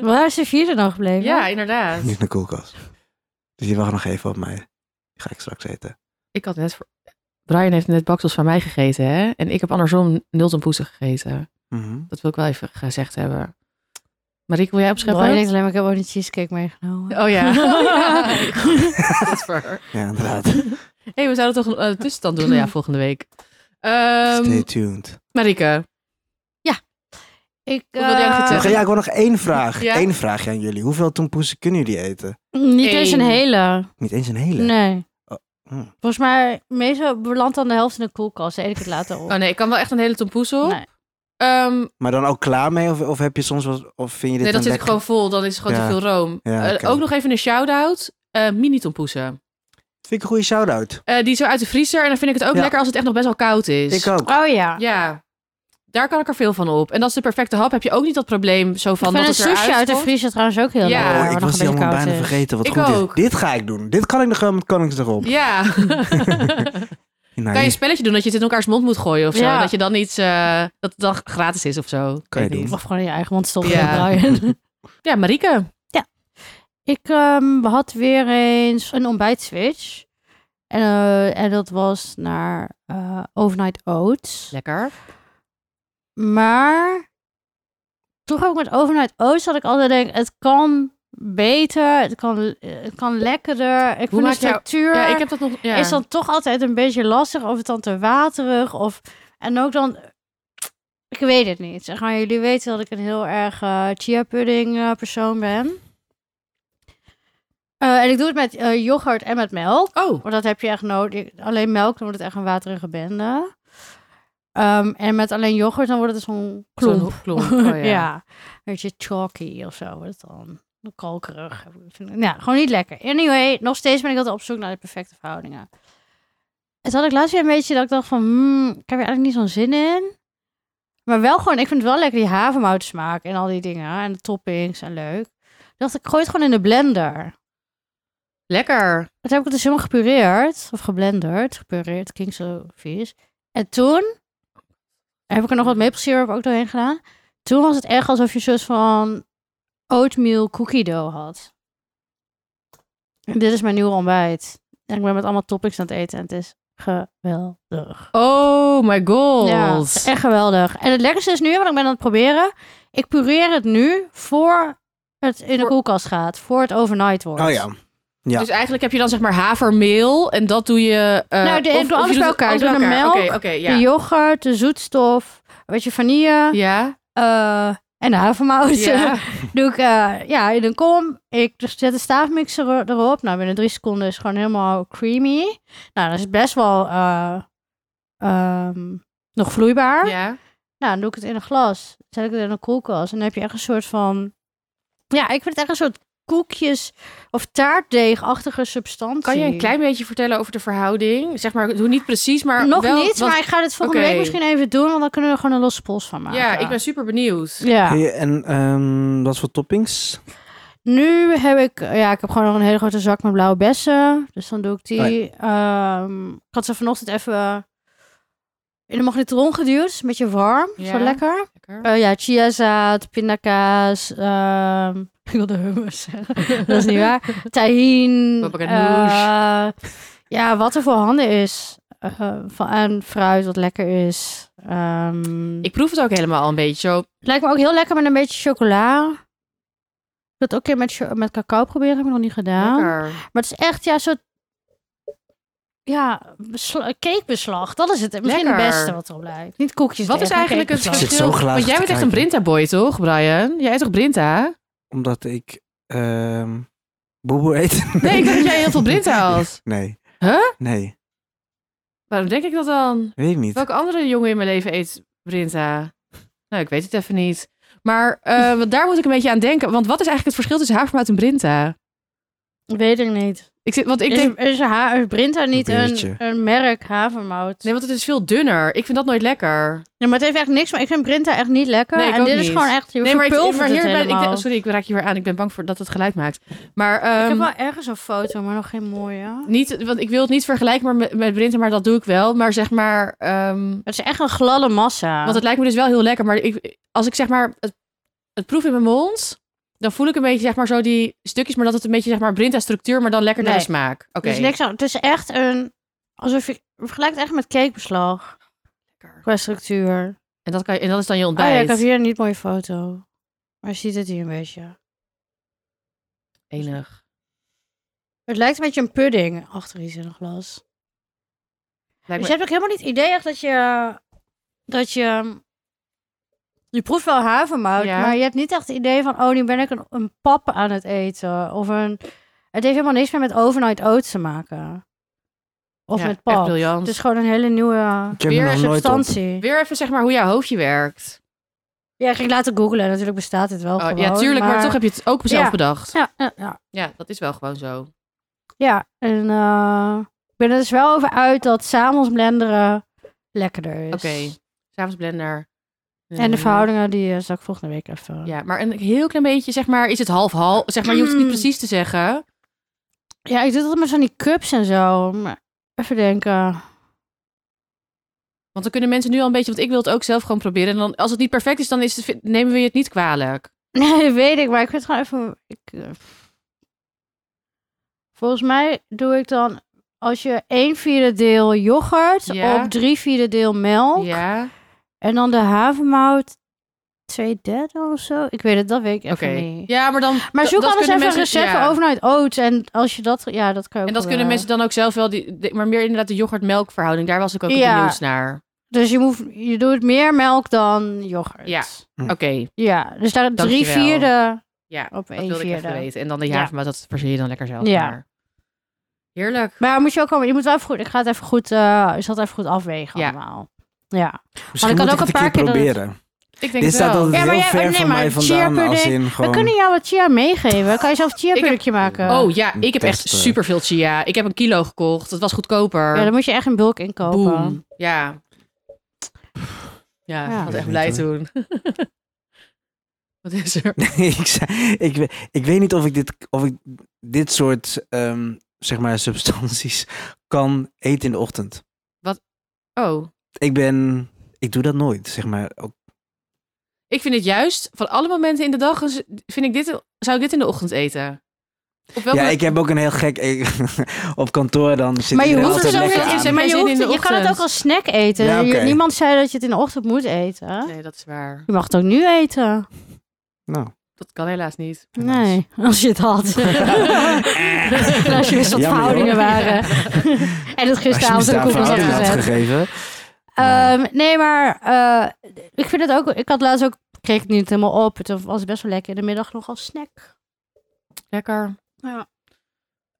Speaker 1: Waar is de vierde dan gebleven?
Speaker 2: ja, inderdaad.
Speaker 3: Niet in de koelkast. Dus je wacht nog even op mij. Die ga ik straks eten.
Speaker 2: Ik had net... Voor... Brian heeft net baksels van mij gegeten, hè? En ik heb andersom nul tompoesen gegeten.
Speaker 3: Mhm.
Speaker 2: Dat wil ik wel even gezegd hebben. Marieke, wil jij opscheppen?
Speaker 1: Brian denkt alleen maar, ik heb ook een cheesecake meegenomen.
Speaker 2: Oh <laughs> ja.
Speaker 3: Ja, inderdaad.
Speaker 2: hey, we zouden toch een eh, tussenstand doen
Speaker 1: Hmm.
Speaker 2: ja, volgende week. Ehm,
Speaker 3: Stay tuned.
Speaker 2: Marike,
Speaker 1: Ik,
Speaker 2: Hoeveel
Speaker 1: eh,
Speaker 2: denk je
Speaker 3: Nog-
Speaker 2: te-
Speaker 3: ja, ik wil nog één vraag.
Speaker 2: Ja?
Speaker 3: Eén vraagje aan jullie. Hoeveel tompoesen kunnen jullie eten?
Speaker 1: Niet eens een
Speaker 2: Eén.
Speaker 1: hele.
Speaker 3: Niet eens een hele.
Speaker 1: Nee.
Speaker 3: Hm.
Speaker 1: Volgens mij, meestal belandt dan de helft in de koelkast. Dan eet ik het later op.
Speaker 2: oh nee, ik kan wel echt een hele tompoes op.
Speaker 1: Nee.
Speaker 2: Ehm,
Speaker 3: Maar dan ook klaar mee? Of, of heb je soms wat, of vind je dit
Speaker 2: nee, dat
Speaker 3: dan
Speaker 2: zit ik
Speaker 3: lekker?
Speaker 2: gewoon vol. Dan is het gewoon
Speaker 3: Ja.
Speaker 2: te veel room.
Speaker 3: Ja,
Speaker 2: Eh,
Speaker 3: oké.
Speaker 2: ook nog even een shout-out. Eh, mini tompoesen.
Speaker 3: Vind ik een goede shout-out.
Speaker 2: Eh, die is zo uit de vriezer. En dan vind ik het ook
Speaker 3: Ja.
Speaker 2: lekker als het echt nog best wel koud is.
Speaker 3: Ik ook.
Speaker 1: Oh ja.
Speaker 2: Ja. Daar kan ik er veel van op. En dat is de perfecte hap. Heb je ook niet dat probleem zo van
Speaker 1: ik
Speaker 2: dat
Speaker 1: vind een
Speaker 2: het
Speaker 1: sushi
Speaker 2: eruit
Speaker 1: uit de
Speaker 2: komt?
Speaker 1: vriezer trouwens ook heel
Speaker 2: Ja.
Speaker 1: lekker.
Speaker 2: Oh,
Speaker 1: waar
Speaker 3: ik
Speaker 1: nog
Speaker 3: was
Speaker 1: een
Speaker 3: die
Speaker 1: beetje koud eh.
Speaker 3: allemaal bijna
Speaker 1: is.
Speaker 3: vergeten. Wat
Speaker 2: dus. Ik
Speaker 3: goed
Speaker 2: ook.
Speaker 3: is. Dit ga ik doen. Dit kan ik nog wel met Nou, Koningsdag op.
Speaker 2: Ja.
Speaker 1: <laughs>
Speaker 2: <laughs>
Speaker 3: Nee,
Speaker 2: Kan je een spelletje doen dat je het in elkaars mond moet gooien of zo?
Speaker 1: Ja.
Speaker 2: Dat je dan iets, eh, dat het dan gratis is of zo. Ik
Speaker 3: Kan je
Speaker 2: weet niet.
Speaker 3: doen.
Speaker 1: Of gewoon in je eigen mond stoppen,
Speaker 2: Ja.
Speaker 3: <laughs>
Speaker 1: Brian.
Speaker 2: Ja, Marieke.
Speaker 1: Ik ehm, had weer eens een ontbijtswitch. En, eh, en dat was naar eh, Overnight Oats.
Speaker 2: Lekker.
Speaker 1: Maar toch ook met Overnight Oats dat ik altijd denk, het kan beter, het kan, het kan lekkerder. Ik vind de
Speaker 2: maak jij-
Speaker 1: structuur
Speaker 2: Ja, ik heb dat nog. Ja.
Speaker 1: is dan toch altijd een beetje lastig of het dan te waterig of en ook dan ik weet het niet. Zeg maar, jullie weten dat ik een heel erg eh chia pudding eh, persoon ben. Eh, en ik doe het met eh, yoghurt en met melk.
Speaker 2: Oh,
Speaker 1: Want dat heb je echt nodig. Alleen melk, dan wordt het echt een waterige bende. Ehm, en met alleen yoghurt, dan wordt het zo'n klomp.
Speaker 2: zo'n klomp. <laughs> Oh, ja.
Speaker 1: ja. een beetje chalky of zo wordt het dan. Kalkerig. Vind ik- Nou, gewoon niet lekker. Anyway, nog steeds ben ik altijd op zoek naar de perfecte verhoudingen. En toen had ik laatst weer een beetje dat ik dacht van... hmm, ik heb er eigenlijk niet zo'n zin in. Maar wel gewoon, ik vind het wel lekker die havermoutsmaak en al die dingen. En de toppings en leuk. Toen dacht ik, ik gooi het gewoon in de blender.
Speaker 2: Lekker.
Speaker 1: Toen heb ik het dus helemaal gepureerd. Of geblenderd. Gepureerd, klinkt zo vies. En toen heb ik er nog wat maple syrup ook doorheen gedaan. Toen was het echt alsof je een soort van oatmeal cookie dough had. En dit is mijn nieuwe ontbijt. En ik ben met allemaal toppings aan het eten. En het is geweldig.
Speaker 2: Oh my god.
Speaker 1: Ja, het is echt geweldig. En het lekkerste is nu, want ik ben aan het proberen. Ik pureer het nu voor het in de
Speaker 2: Voor-
Speaker 1: koelkast gaat. Voor het overnight wordt.
Speaker 3: Oh ja. Ja.
Speaker 2: Dus eigenlijk heb je dan zeg maar havermeel en dat doe je. eh,
Speaker 1: Nou, de- ik doe
Speaker 2: je
Speaker 1: alles
Speaker 2: doet
Speaker 1: bij
Speaker 2: het
Speaker 1: elkaar. Ik doe de
Speaker 2: elkaar. Oké,
Speaker 1: melk,
Speaker 2: oké,
Speaker 1: De
Speaker 2: ja.
Speaker 1: yoghurt, de zoetstof, een beetje vanille
Speaker 2: <laughs> Ja.
Speaker 1: eh, en de havermout.
Speaker 2: Ja.
Speaker 1: <laughs> Doe ik eh, ja, in een kom. Ik dus zet de staafmixer er- erop. Nou, binnen drie seconden is het gewoon helemaal creamy. Nou, dat is best wel eh, ehm, nog vloeibaar.
Speaker 2: ja.
Speaker 1: Nou, dan doe ik het in een glas. Zet ik het in een koelkast. En dan heb je echt een soort van... Ja, ik vind het echt een soort koekjes- of taartdeegachtige substantie.
Speaker 2: Kan je een klein beetje vertellen over de verhouding? Zeg maar, doe niet precies, maar
Speaker 1: Nog
Speaker 2: wel,
Speaker 1: niet,
Speaker 2: wat-
Speaker 1: maar ik ga dit volgende
Speaker 2: Oké.
Speaker 1: week misschien even doen. Want dan kunnen we er gewoon een losse pols van maken.
Speaker 2: Ja, ik ben super benieuwd.
Speaker 1: Ja.
Speaker 3: Hey, en ehm, wat voor toppings?
Speaker 1: Nu heb ik, ja, ik heb gewoon nog een hele grote zak met blauwe bessen. Dus dan doe ik die. Ehm, ik had ze vanochtend even in de magnetron geduwd. Is Een beetje warm. Zo
Speaker 2: Ja.
Speaker 1: lekker.
Speaker 2: Lekker.
Speaker 1: Eh, ja, chiazaad, pindakaas. ehm, <laughs> ik wilde hummus <laughs> zeggen. Dat is niet waar. Tahin.
Speaker 2: Papaganoush.
Speaker 1: eh, ja, wat er voor handen is. Eh, van, en fruit wat lekker is. Ehm,
Speaker 2: Ik proef het ook helemaal al een beetje zo.
Speaker 1: het lijkt me ook heel lekker met een beetje chocola. Ik wil het ook een keer met, cho- met cacao proberen. Heb ik nog niet gedaan.
Speaker 2: Lekker.
Speaker 1: Maar het is echt, ja, soort... Ja, besla- cakebeslag. Dat is het. Misschien
Speaker 2: Lekker.
Speaker 1: het beste wat erop lijkt. Niet koekjes.
Speaker 2: Wat is
Speaker 1: deeg, maar
Speaker 2: eigenlijk het
Speaker 1: cakebeslag.
Speaker 3: Ik zit
Speaker 2: verschil?
Speaker 3: zo glazen
Speaker 2: Want jij
Speaker 3: te
Speaker 2: bent echt een
Speaker 3: kijken.
Speaker 2: Brinta-boy, toch, Brian? Jij eet toch Brinta?
Speaker 3: Omdat ik ehm boeboe eet.
Speaker 2: Nee, ik dacht dat jij
Speaker 3: <laughs>
Speaker 2: heel veel Brinta
Speaker 1: <laughs>
Speaker 2: had.
Speaker 3: Nee.
Speaker 2: Huh?
Speaker 3: Nee,
Speaker 2: Waarom denk ik dat dan?
Speaker 3: weet ik niet.
Speaker 2: Welke andere jongen in mijn leven eet Brinta? Nou, ik weet het even niet. Maar eh, want daar moet ik een beetje aan denken. Want wat is eigenlijk het verschil tussen havermout en Brinta?
Speaker 1: Weet ik niet.
Speaker 2: Ik zit, want ik
Speaker 1: is,
Speaker 2: denk,
Speaker 1: is, ha- is Brinta niet
Speaker 3: Beertje.
Speaker 1: een, een merk havermout?
Speaker 2: nee,
Speaker 1: Nee,
Speaker 2: want het is veel dunner. Ik vind dat nooit lekker.
Speaker 1: maar het heeft echt niks. Maar ik vind Brinta echt niet lekker.
Speaker 2: Nee, ik
Speaker 1: en
Speaker 2: ook
Speaker 1: dit is
Speaker 2: niet.
Speaker 1: gewoon echt. Je
Speaker 2: Nee, maar, ik,
Speaker 1: verpulvert
Speaker 2: maar hier
Speaker 1: het
Speaker 2: ben ik.
Speaker 1: helemaal.
Speaker 2: denk- Sorry, ik raak je weer aan. Ik ben bang voor dat het geluid maakt. Maar
Speaker 1: ik heb
Speaker 2: ehm,
Speaker 1: wel ergens een foto, maar nog geen mooie.
Speaker 2: niet, want ik wil het niet vergelijken maar met, met Brinta, maar dat doe ik wel. Maar zeg maar, ehm,
Speaker 1: Het is echt een gladde massa.
Speaker 2: Want het lijkt me dus wel heel lekker. Maar ik, als ik zeg maar het, het proef in mijn mond, dan voel ik een beetje zeg maar zo die stukjes, maar dat het een beetje zeg maar Brinta structuur, maar dan lekker naar de
Speaker 1: Nee. Dus
Speaker 2: smaak. Oké.
Speaker 1: Er is niks aan- Het is echt een. Alsof je. Vergelijk het echt met cakebeslag. Qua structuur.
Speaker 2: En dat kan je, en dat is dan je
Speaker 1: Ah ja,
Speaker 2: ontbijt.
Speaker 1: ik heb hier een niet mooie foto. Maar je ziet het hier een beetje.
Speaker 2: Enig.
Speaker 1: Het lijkt een beetje een pudding achter iets in een glas. Dus
Speaker 2: Lijkt me-
Speaker 1: je hebt ook helemaal niet het idee echt dat je... Dat je... Je proeft wel havermout,
Speaker 2: Ja.
Speaker 1: maar je hebt niet echt het idee van... Oh, nu ben ik een, een pap aan het eten. Of een... Het heeft helemaal niks meer met overnight oats te maken. Of
Speaker 2: Ja,
Speaker 1: met
Speaker 2: Echt
Speaker 1: pap.
Speaker 2: briljant.
Speaker 1: Het is gewoon een hele nieuwe
Speaker 3: ik heb hem
Speaker 2: weer
Speaker 3: nog nooit op.
Speaker 1: substantie.
Speaker 2: Dus Weer even zeg maar hoe jouw hoofdje werkt.
Speaker 1: Ja, ik ging laten googlen. Natuurlijk bestaat het wel
Speaker 2: Oh,
Speaker 1: gewoon.
Speaker 2: ja, tuurlijk, maar... toch heb je het ook zelf
Speaker 1: Ja.
Speaker 2: bedacht.
Speaker 1: Ja, ja, ja.
Speaker 2: Ja, dat is wel gewoon zo.
Speaker 1: Ja, en eh, ik ben er dus wel over uit dat s'avonds blenderen lekkerder is.
Speaker 2: Oké. S'avonds blender.
Speaker 1: Dus- En de
Speaker 2: Eh,
Speaker 1: verhoudingen, die eh, zal ik volgende week even...
Speaker 2: Ja, maar een heel klein beetje, zeg maar, is het half-half. Zeg maar, je hoeft het
Speaker 1: Mm.
Speaker 2: niet precies te zeggen.
Speaker 1: Ja, ik doe dat met van die cups en zo. Maar even denken. <laughs>
Speaker 2: Want dan kunnen mensen nu al een beetje, want ik wil het ook zelf gewoon proberen. En dan, als het niet perfect is, dan is het, nemen we je het niet kwalijk.
Speaker 1: Nee, weet ik, maar ik vind het gewoon even. Ik, eh, volgens mij doe ik dan. Als je 1 vierde deel yoghurt
Speaker 2: Ja.
Speaker 1: op 3 vierde deel melk.
Speaker 2: Ja.
Speaker 1: En dan de havermout 2 derde of zo. Ik weet het, dat weet ik
Speaker 2: Oké.
Speaker 1: even niet.
Speaker 2: Ja, maar dan.
Speaker 1: Maar
Speaker 2: dat-
Speaker 1: zoek
Speaker 2: dat
Speaker 1: anders even
Speaker 2: kunnen
Speaker 1: een
Speaker 2: mensen-
Speaker 1: recept
Speaker 2: ja.
Speaker 1: voor overnight oats. En als je dat... Ja, dat kan je ook
Speaker 2: En dat kunnen
Speaker 1: wel.
Speaker 2: mensen dan ook zelf wel. Die, de- maar meer inderdaad de yoghurt-melk verhouding. Daar was ik ook
Speaker 1: Ja.
Speaker 2: benieuwd naar.
Speaker 1: Dus je, moet, je doet meer melk dan yoghurt.
Speaker 2: Ja.
Speaker 3: Hm.
Speaker 2: Oké,
Speaker 1: Ja, dus daar 3
Speaker 2: Dankjewel.
Speaker 1: vierde
Speaker 2: Ja,
Speaker 1: op
Speaker 2: dat
Speaker 1: 1
Speaker 2: wilde ik
Speaker 1: vierde.
Speaker 2: even weten. En dan de
Speaker 1: Ja.
Speaker 2: havermout, dat verzin je dan lekker zelf.
Speaker 1: Ja.
Speaker 2: Maar. Heerlijk.
Speaker 1: Maar moet je ook allemaal, je moet wel even goed, ik ga het even goed, eh ik zal het even goed afwegen
Speaker 2: Ja.
Speaker 1: allemaal. Ja.
Speaker 3: Misschien
Speaker 1: kan
Speaker 3: moet
Speaker 1: ook een
Speaker 3: ik het een
Speaker 1: paar
Speaker 3: keer
Speaker 1: keer dat het-
Speaker 3: proberen.
Speaker 2: Ik denk
Speaker 3: Dit
Speaker 2: het
Speaker 3: staat
Speaker 2: wel.
Speaker 3: altijd
Speaker 1: Ja, maar
Speaker 3: heel
Speaker 1: jij-
Speaker 3: ver
Speaker 1: nee,
Speaker 3: van
Speaker 1: maar
Speaker 3: mij vandaan als
Speaker 1: cheerpudding-
Speaker 3: in gewoon...
Speaker 1: We
Speaker 3: <laughs>
Speaker 1: kunnen jou wat chia meegeven. Dan kan je zelf chia
Speaker 2: heb-
Speaker 1: productje maken.
Speaker 2: Oh ja, ik heb echt
Speaker 3: Testen.
Speaker 2: superveel chia. Ik heb een kilo gekocht. Dat was goedkoper.
Speaker 1: Ja, dan moet je echt in bulk inkopen.
Speaker 2: Boom. Ja. Ja, ik
Speaker 1: Ja.
Speaker 2: was echt blij
Speaker 3: Weet niet,
Speaker 2: toen. <laughs> Wat is er?
Speaker 3: Nee, ik, zei- ik, we- ik weet niet of ik dit, of ik dit soort ehm, zeg maar <laughs> substanties kan eten in de ochtend.
Speaker 2: Oh.
Speaker 3: Ik ben, ik doe dat nooit, zeg maar. Ook,
Speaker 2: Ik vind het juist, van alle momenten in de dag, is- vind ik dit, zou ik dit in de ochtend eten. Op welke
Speaker 3: ja, ik heb ook een heel gek <laughs> op kantoor dan zit
Speaker 1: Maar je
Speaker 3: iedereen
Speaker 1: hoeft
Speaker 3: altijd
Speaker 1: het ook
Speaker 2: lekker
Speaker 1: niet
Speaker 2: aan.
Speaker 1: in. Maar je,
Speaker 2: Geen zin in
Speaker 1: hoeft,
Speaker 2: de
Speaker 1: je kan het
Speaker 2: ochtend.
Speaker 1: ook als snack eten.
Speaker 3: Ja,
Speaker 1: Je-
Speaker 3: oké.
Speaker 1: niemand zei dat je het in de ochtend moet eten.
Speaker 2: Nee, dat is waar.
Speaker 1: Je mag het ook nu eten.
Speaker 3: Nou,
Speaker 2: Dat kan helaas
Speaker 3: <laughs>
Speaker 2: niet. <laughs>
Speaker 1: <laughs>
Speaker 3: Helaas.
Speaker 1: Nee, als je het
Speaker 3: <laughs>
Speaker 1: had. en als je wist wat
Speaker 3: Jammer,
Speaker 1: verhoudingen
Speaker 3: hoor.
Speaker 1: waren. en het
Speaker 3: als je me
Speaker 1: gisteravond ook
Speaker 3: daar
Speaker 1: op een
Speaker 3: verhouding
Speaker 1: gezet.
Speaker 3: had gegeven.
Speaker 1: Ehm, nee, maar eh, ik vind het ook. Ik had laatst ook. Kreeg het niet helemaal op. Het was best wel lekker in de middag nog als snack.
Speaker 2: Lekker.
Speaker 1: Ja.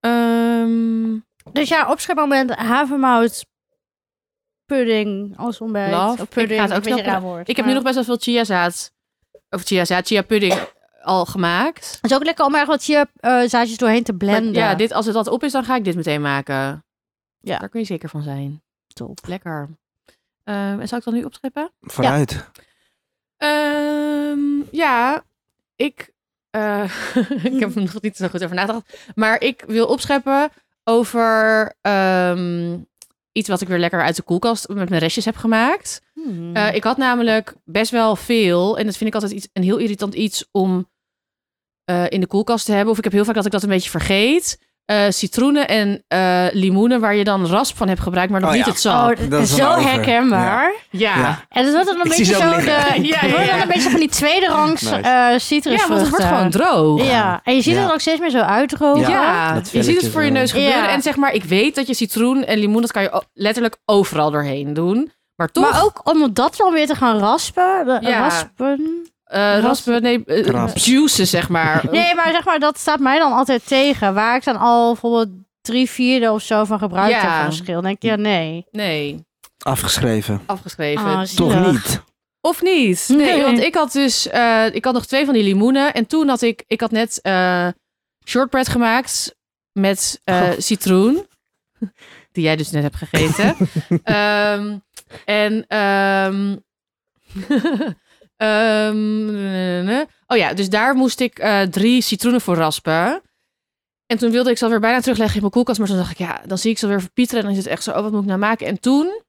Speaker 2: Ehm,
Speaker 1: Dus ja, opschepmoment: havermout, pudding als ontbijt.
Speaker 2: Love.
Speaker 1: Of pudding,
Speaker 2: Ik ga het ook
Speaker 1: een beetje
Speaker 2: snel-
Speaker 1: raar woord,
Speaker 2: ik heb nu
Speaker 1: maar-
Speaker 2: nog best wel veel chiazaad. Of chiazaad, chia pudding al gemaakt.
Speaker 1: Het is ook lekker om er wat hier eh, zaadjes doorheen te
Speaker 2: Maar
Speaker 1: blenden.
Speaker 2: ja, dit, als het dat op is, dan ga ik dit meteen maken.
Speaker 1: Ja.
Speaker 2: Daar kun je zeker van zijn.
Speaker 1: Top.
Speaker 2: Lekker. Ehm, en zal ik dan nu opscheppen?
Speaker 3: Vooruit.
Speaker 2: Ehm, ja, ik Eh, <laughs> ik heb er nog niet zo goed over nagedacht. Maar ik wil opscheppen over ehm, iets wat ik weer lekker uit de koelkast met mijn restjes heb gemaakt.
Speaker 1: Hmm.
Speaker 2: Eh, ik had namelijk best wel veel. En dat vind ik altijd iets, een heel irritant iets om eh, in de koelkast te hebben. Of ik heb heel vaak dat ik dat een beetje vergeet. Eh, citroenen en eh, limoenen waar je dan rasp van hebt gebruikt, maar nog
Speaker 3: Oh
Speaker 2: niet
Speaker 3: ja.
Speaker 2: het sap.
Speaker 1: Oh,
Speaker 3: dat
Speaker 1: dat
Speaker 3: is
Speaker 1: is
Speaker 3: een
Speaker 1: zo
Speaker 3: over.
Speaker 1: herkenbaar.
Speaker 2: ja.
Speaker 3: Ja.
Speaker 1: En het wordt dan een
Speaker 3: Ik zie
Speaker 1: beetje
Speaker 3: ze
Speaker 1: zo
Speaker 3: ook
Speaker 1: de,
Speaker 3: liggen.
Speaker 2: Ja,
Speaker 1: het
Speaker 2: ja,
Speaker 1: wordt
Speaker 2: ja.
Speaker 1: dan een beetje van die tweede rangs
Speaker 3: Nice.
Speaker 1: eh, citrusvruchten.
Speaker 2: Ja, want het wordt gewoon droog.
Speaker 1: Ja, en je ziet
Speaker 3: Ja.
Speaker 1: het ook steeds meer zo uitroken.
Speaker 2: Ja,
Speaker 3: Ja,
Speaker 2: je
Speaker 3: dat dus
Speaker 2: ziet het
Speaker 3: velletje
Speaker 2: voor je
Speaker 3: zo.
Speaker 2: neus gebeuren.
Speaker 1: Ja.
Speaker 2: En zeg maar, ik weet dat je citroen en limoen, dat kan je o- letterlijk overal doorheen doen. Maar toch,
Speaker 1: Maar ook om dat dan weer te gaan raspen. de-
Speaker 2: Ja.
Speaker 1: Raspen.
Speaker 2: eh, raspen, nee, eh,
Speaker 3: Raps.
Speaker 2: juices zeg maar.
Speaker 1: Nee, maar zeg maar, dat staat mij dan altijd tegen. Waar ik dan al bijvoorbeeld drie vierde of zo van gebruikt
Speaker 2: Ja.
Speaker 1: heb van een schil. Dan denk ik, ja, nee.
Speaker 2: Nee,
Speaker 3: Afgeschreven.
Speaker 2: afgeschreven.
Speaker 1: Ah,
Speaker 3: Toch
Speaker 1: zielig.
Speaker 3: niet.
Speaker 2: Of niet? Nee,
Speaker 1: Nee.
Speaker 2: want ik had dus, eh, ik had nog twee van die limoenen. En toen had ik, ik had net eh, shortbread gemaakt met eh,
Speaker 3: Goh.
Speaker 2: citroen. <laughs> Die jij dus net hebt gegeten. Ehm, en, ehm, <laughs> ehm, ne, ne, ne. oh ja, dus daar moest ik eh, drie citroenen voor raspen. En toen wilde ik ze alweer bijna terugleggen in mijn koelkast. Maar toen dacht ik, ja, dan zie ik ze weer verpieteren. En dan is het echt zo, oh, wat moet ik nou maken? En toen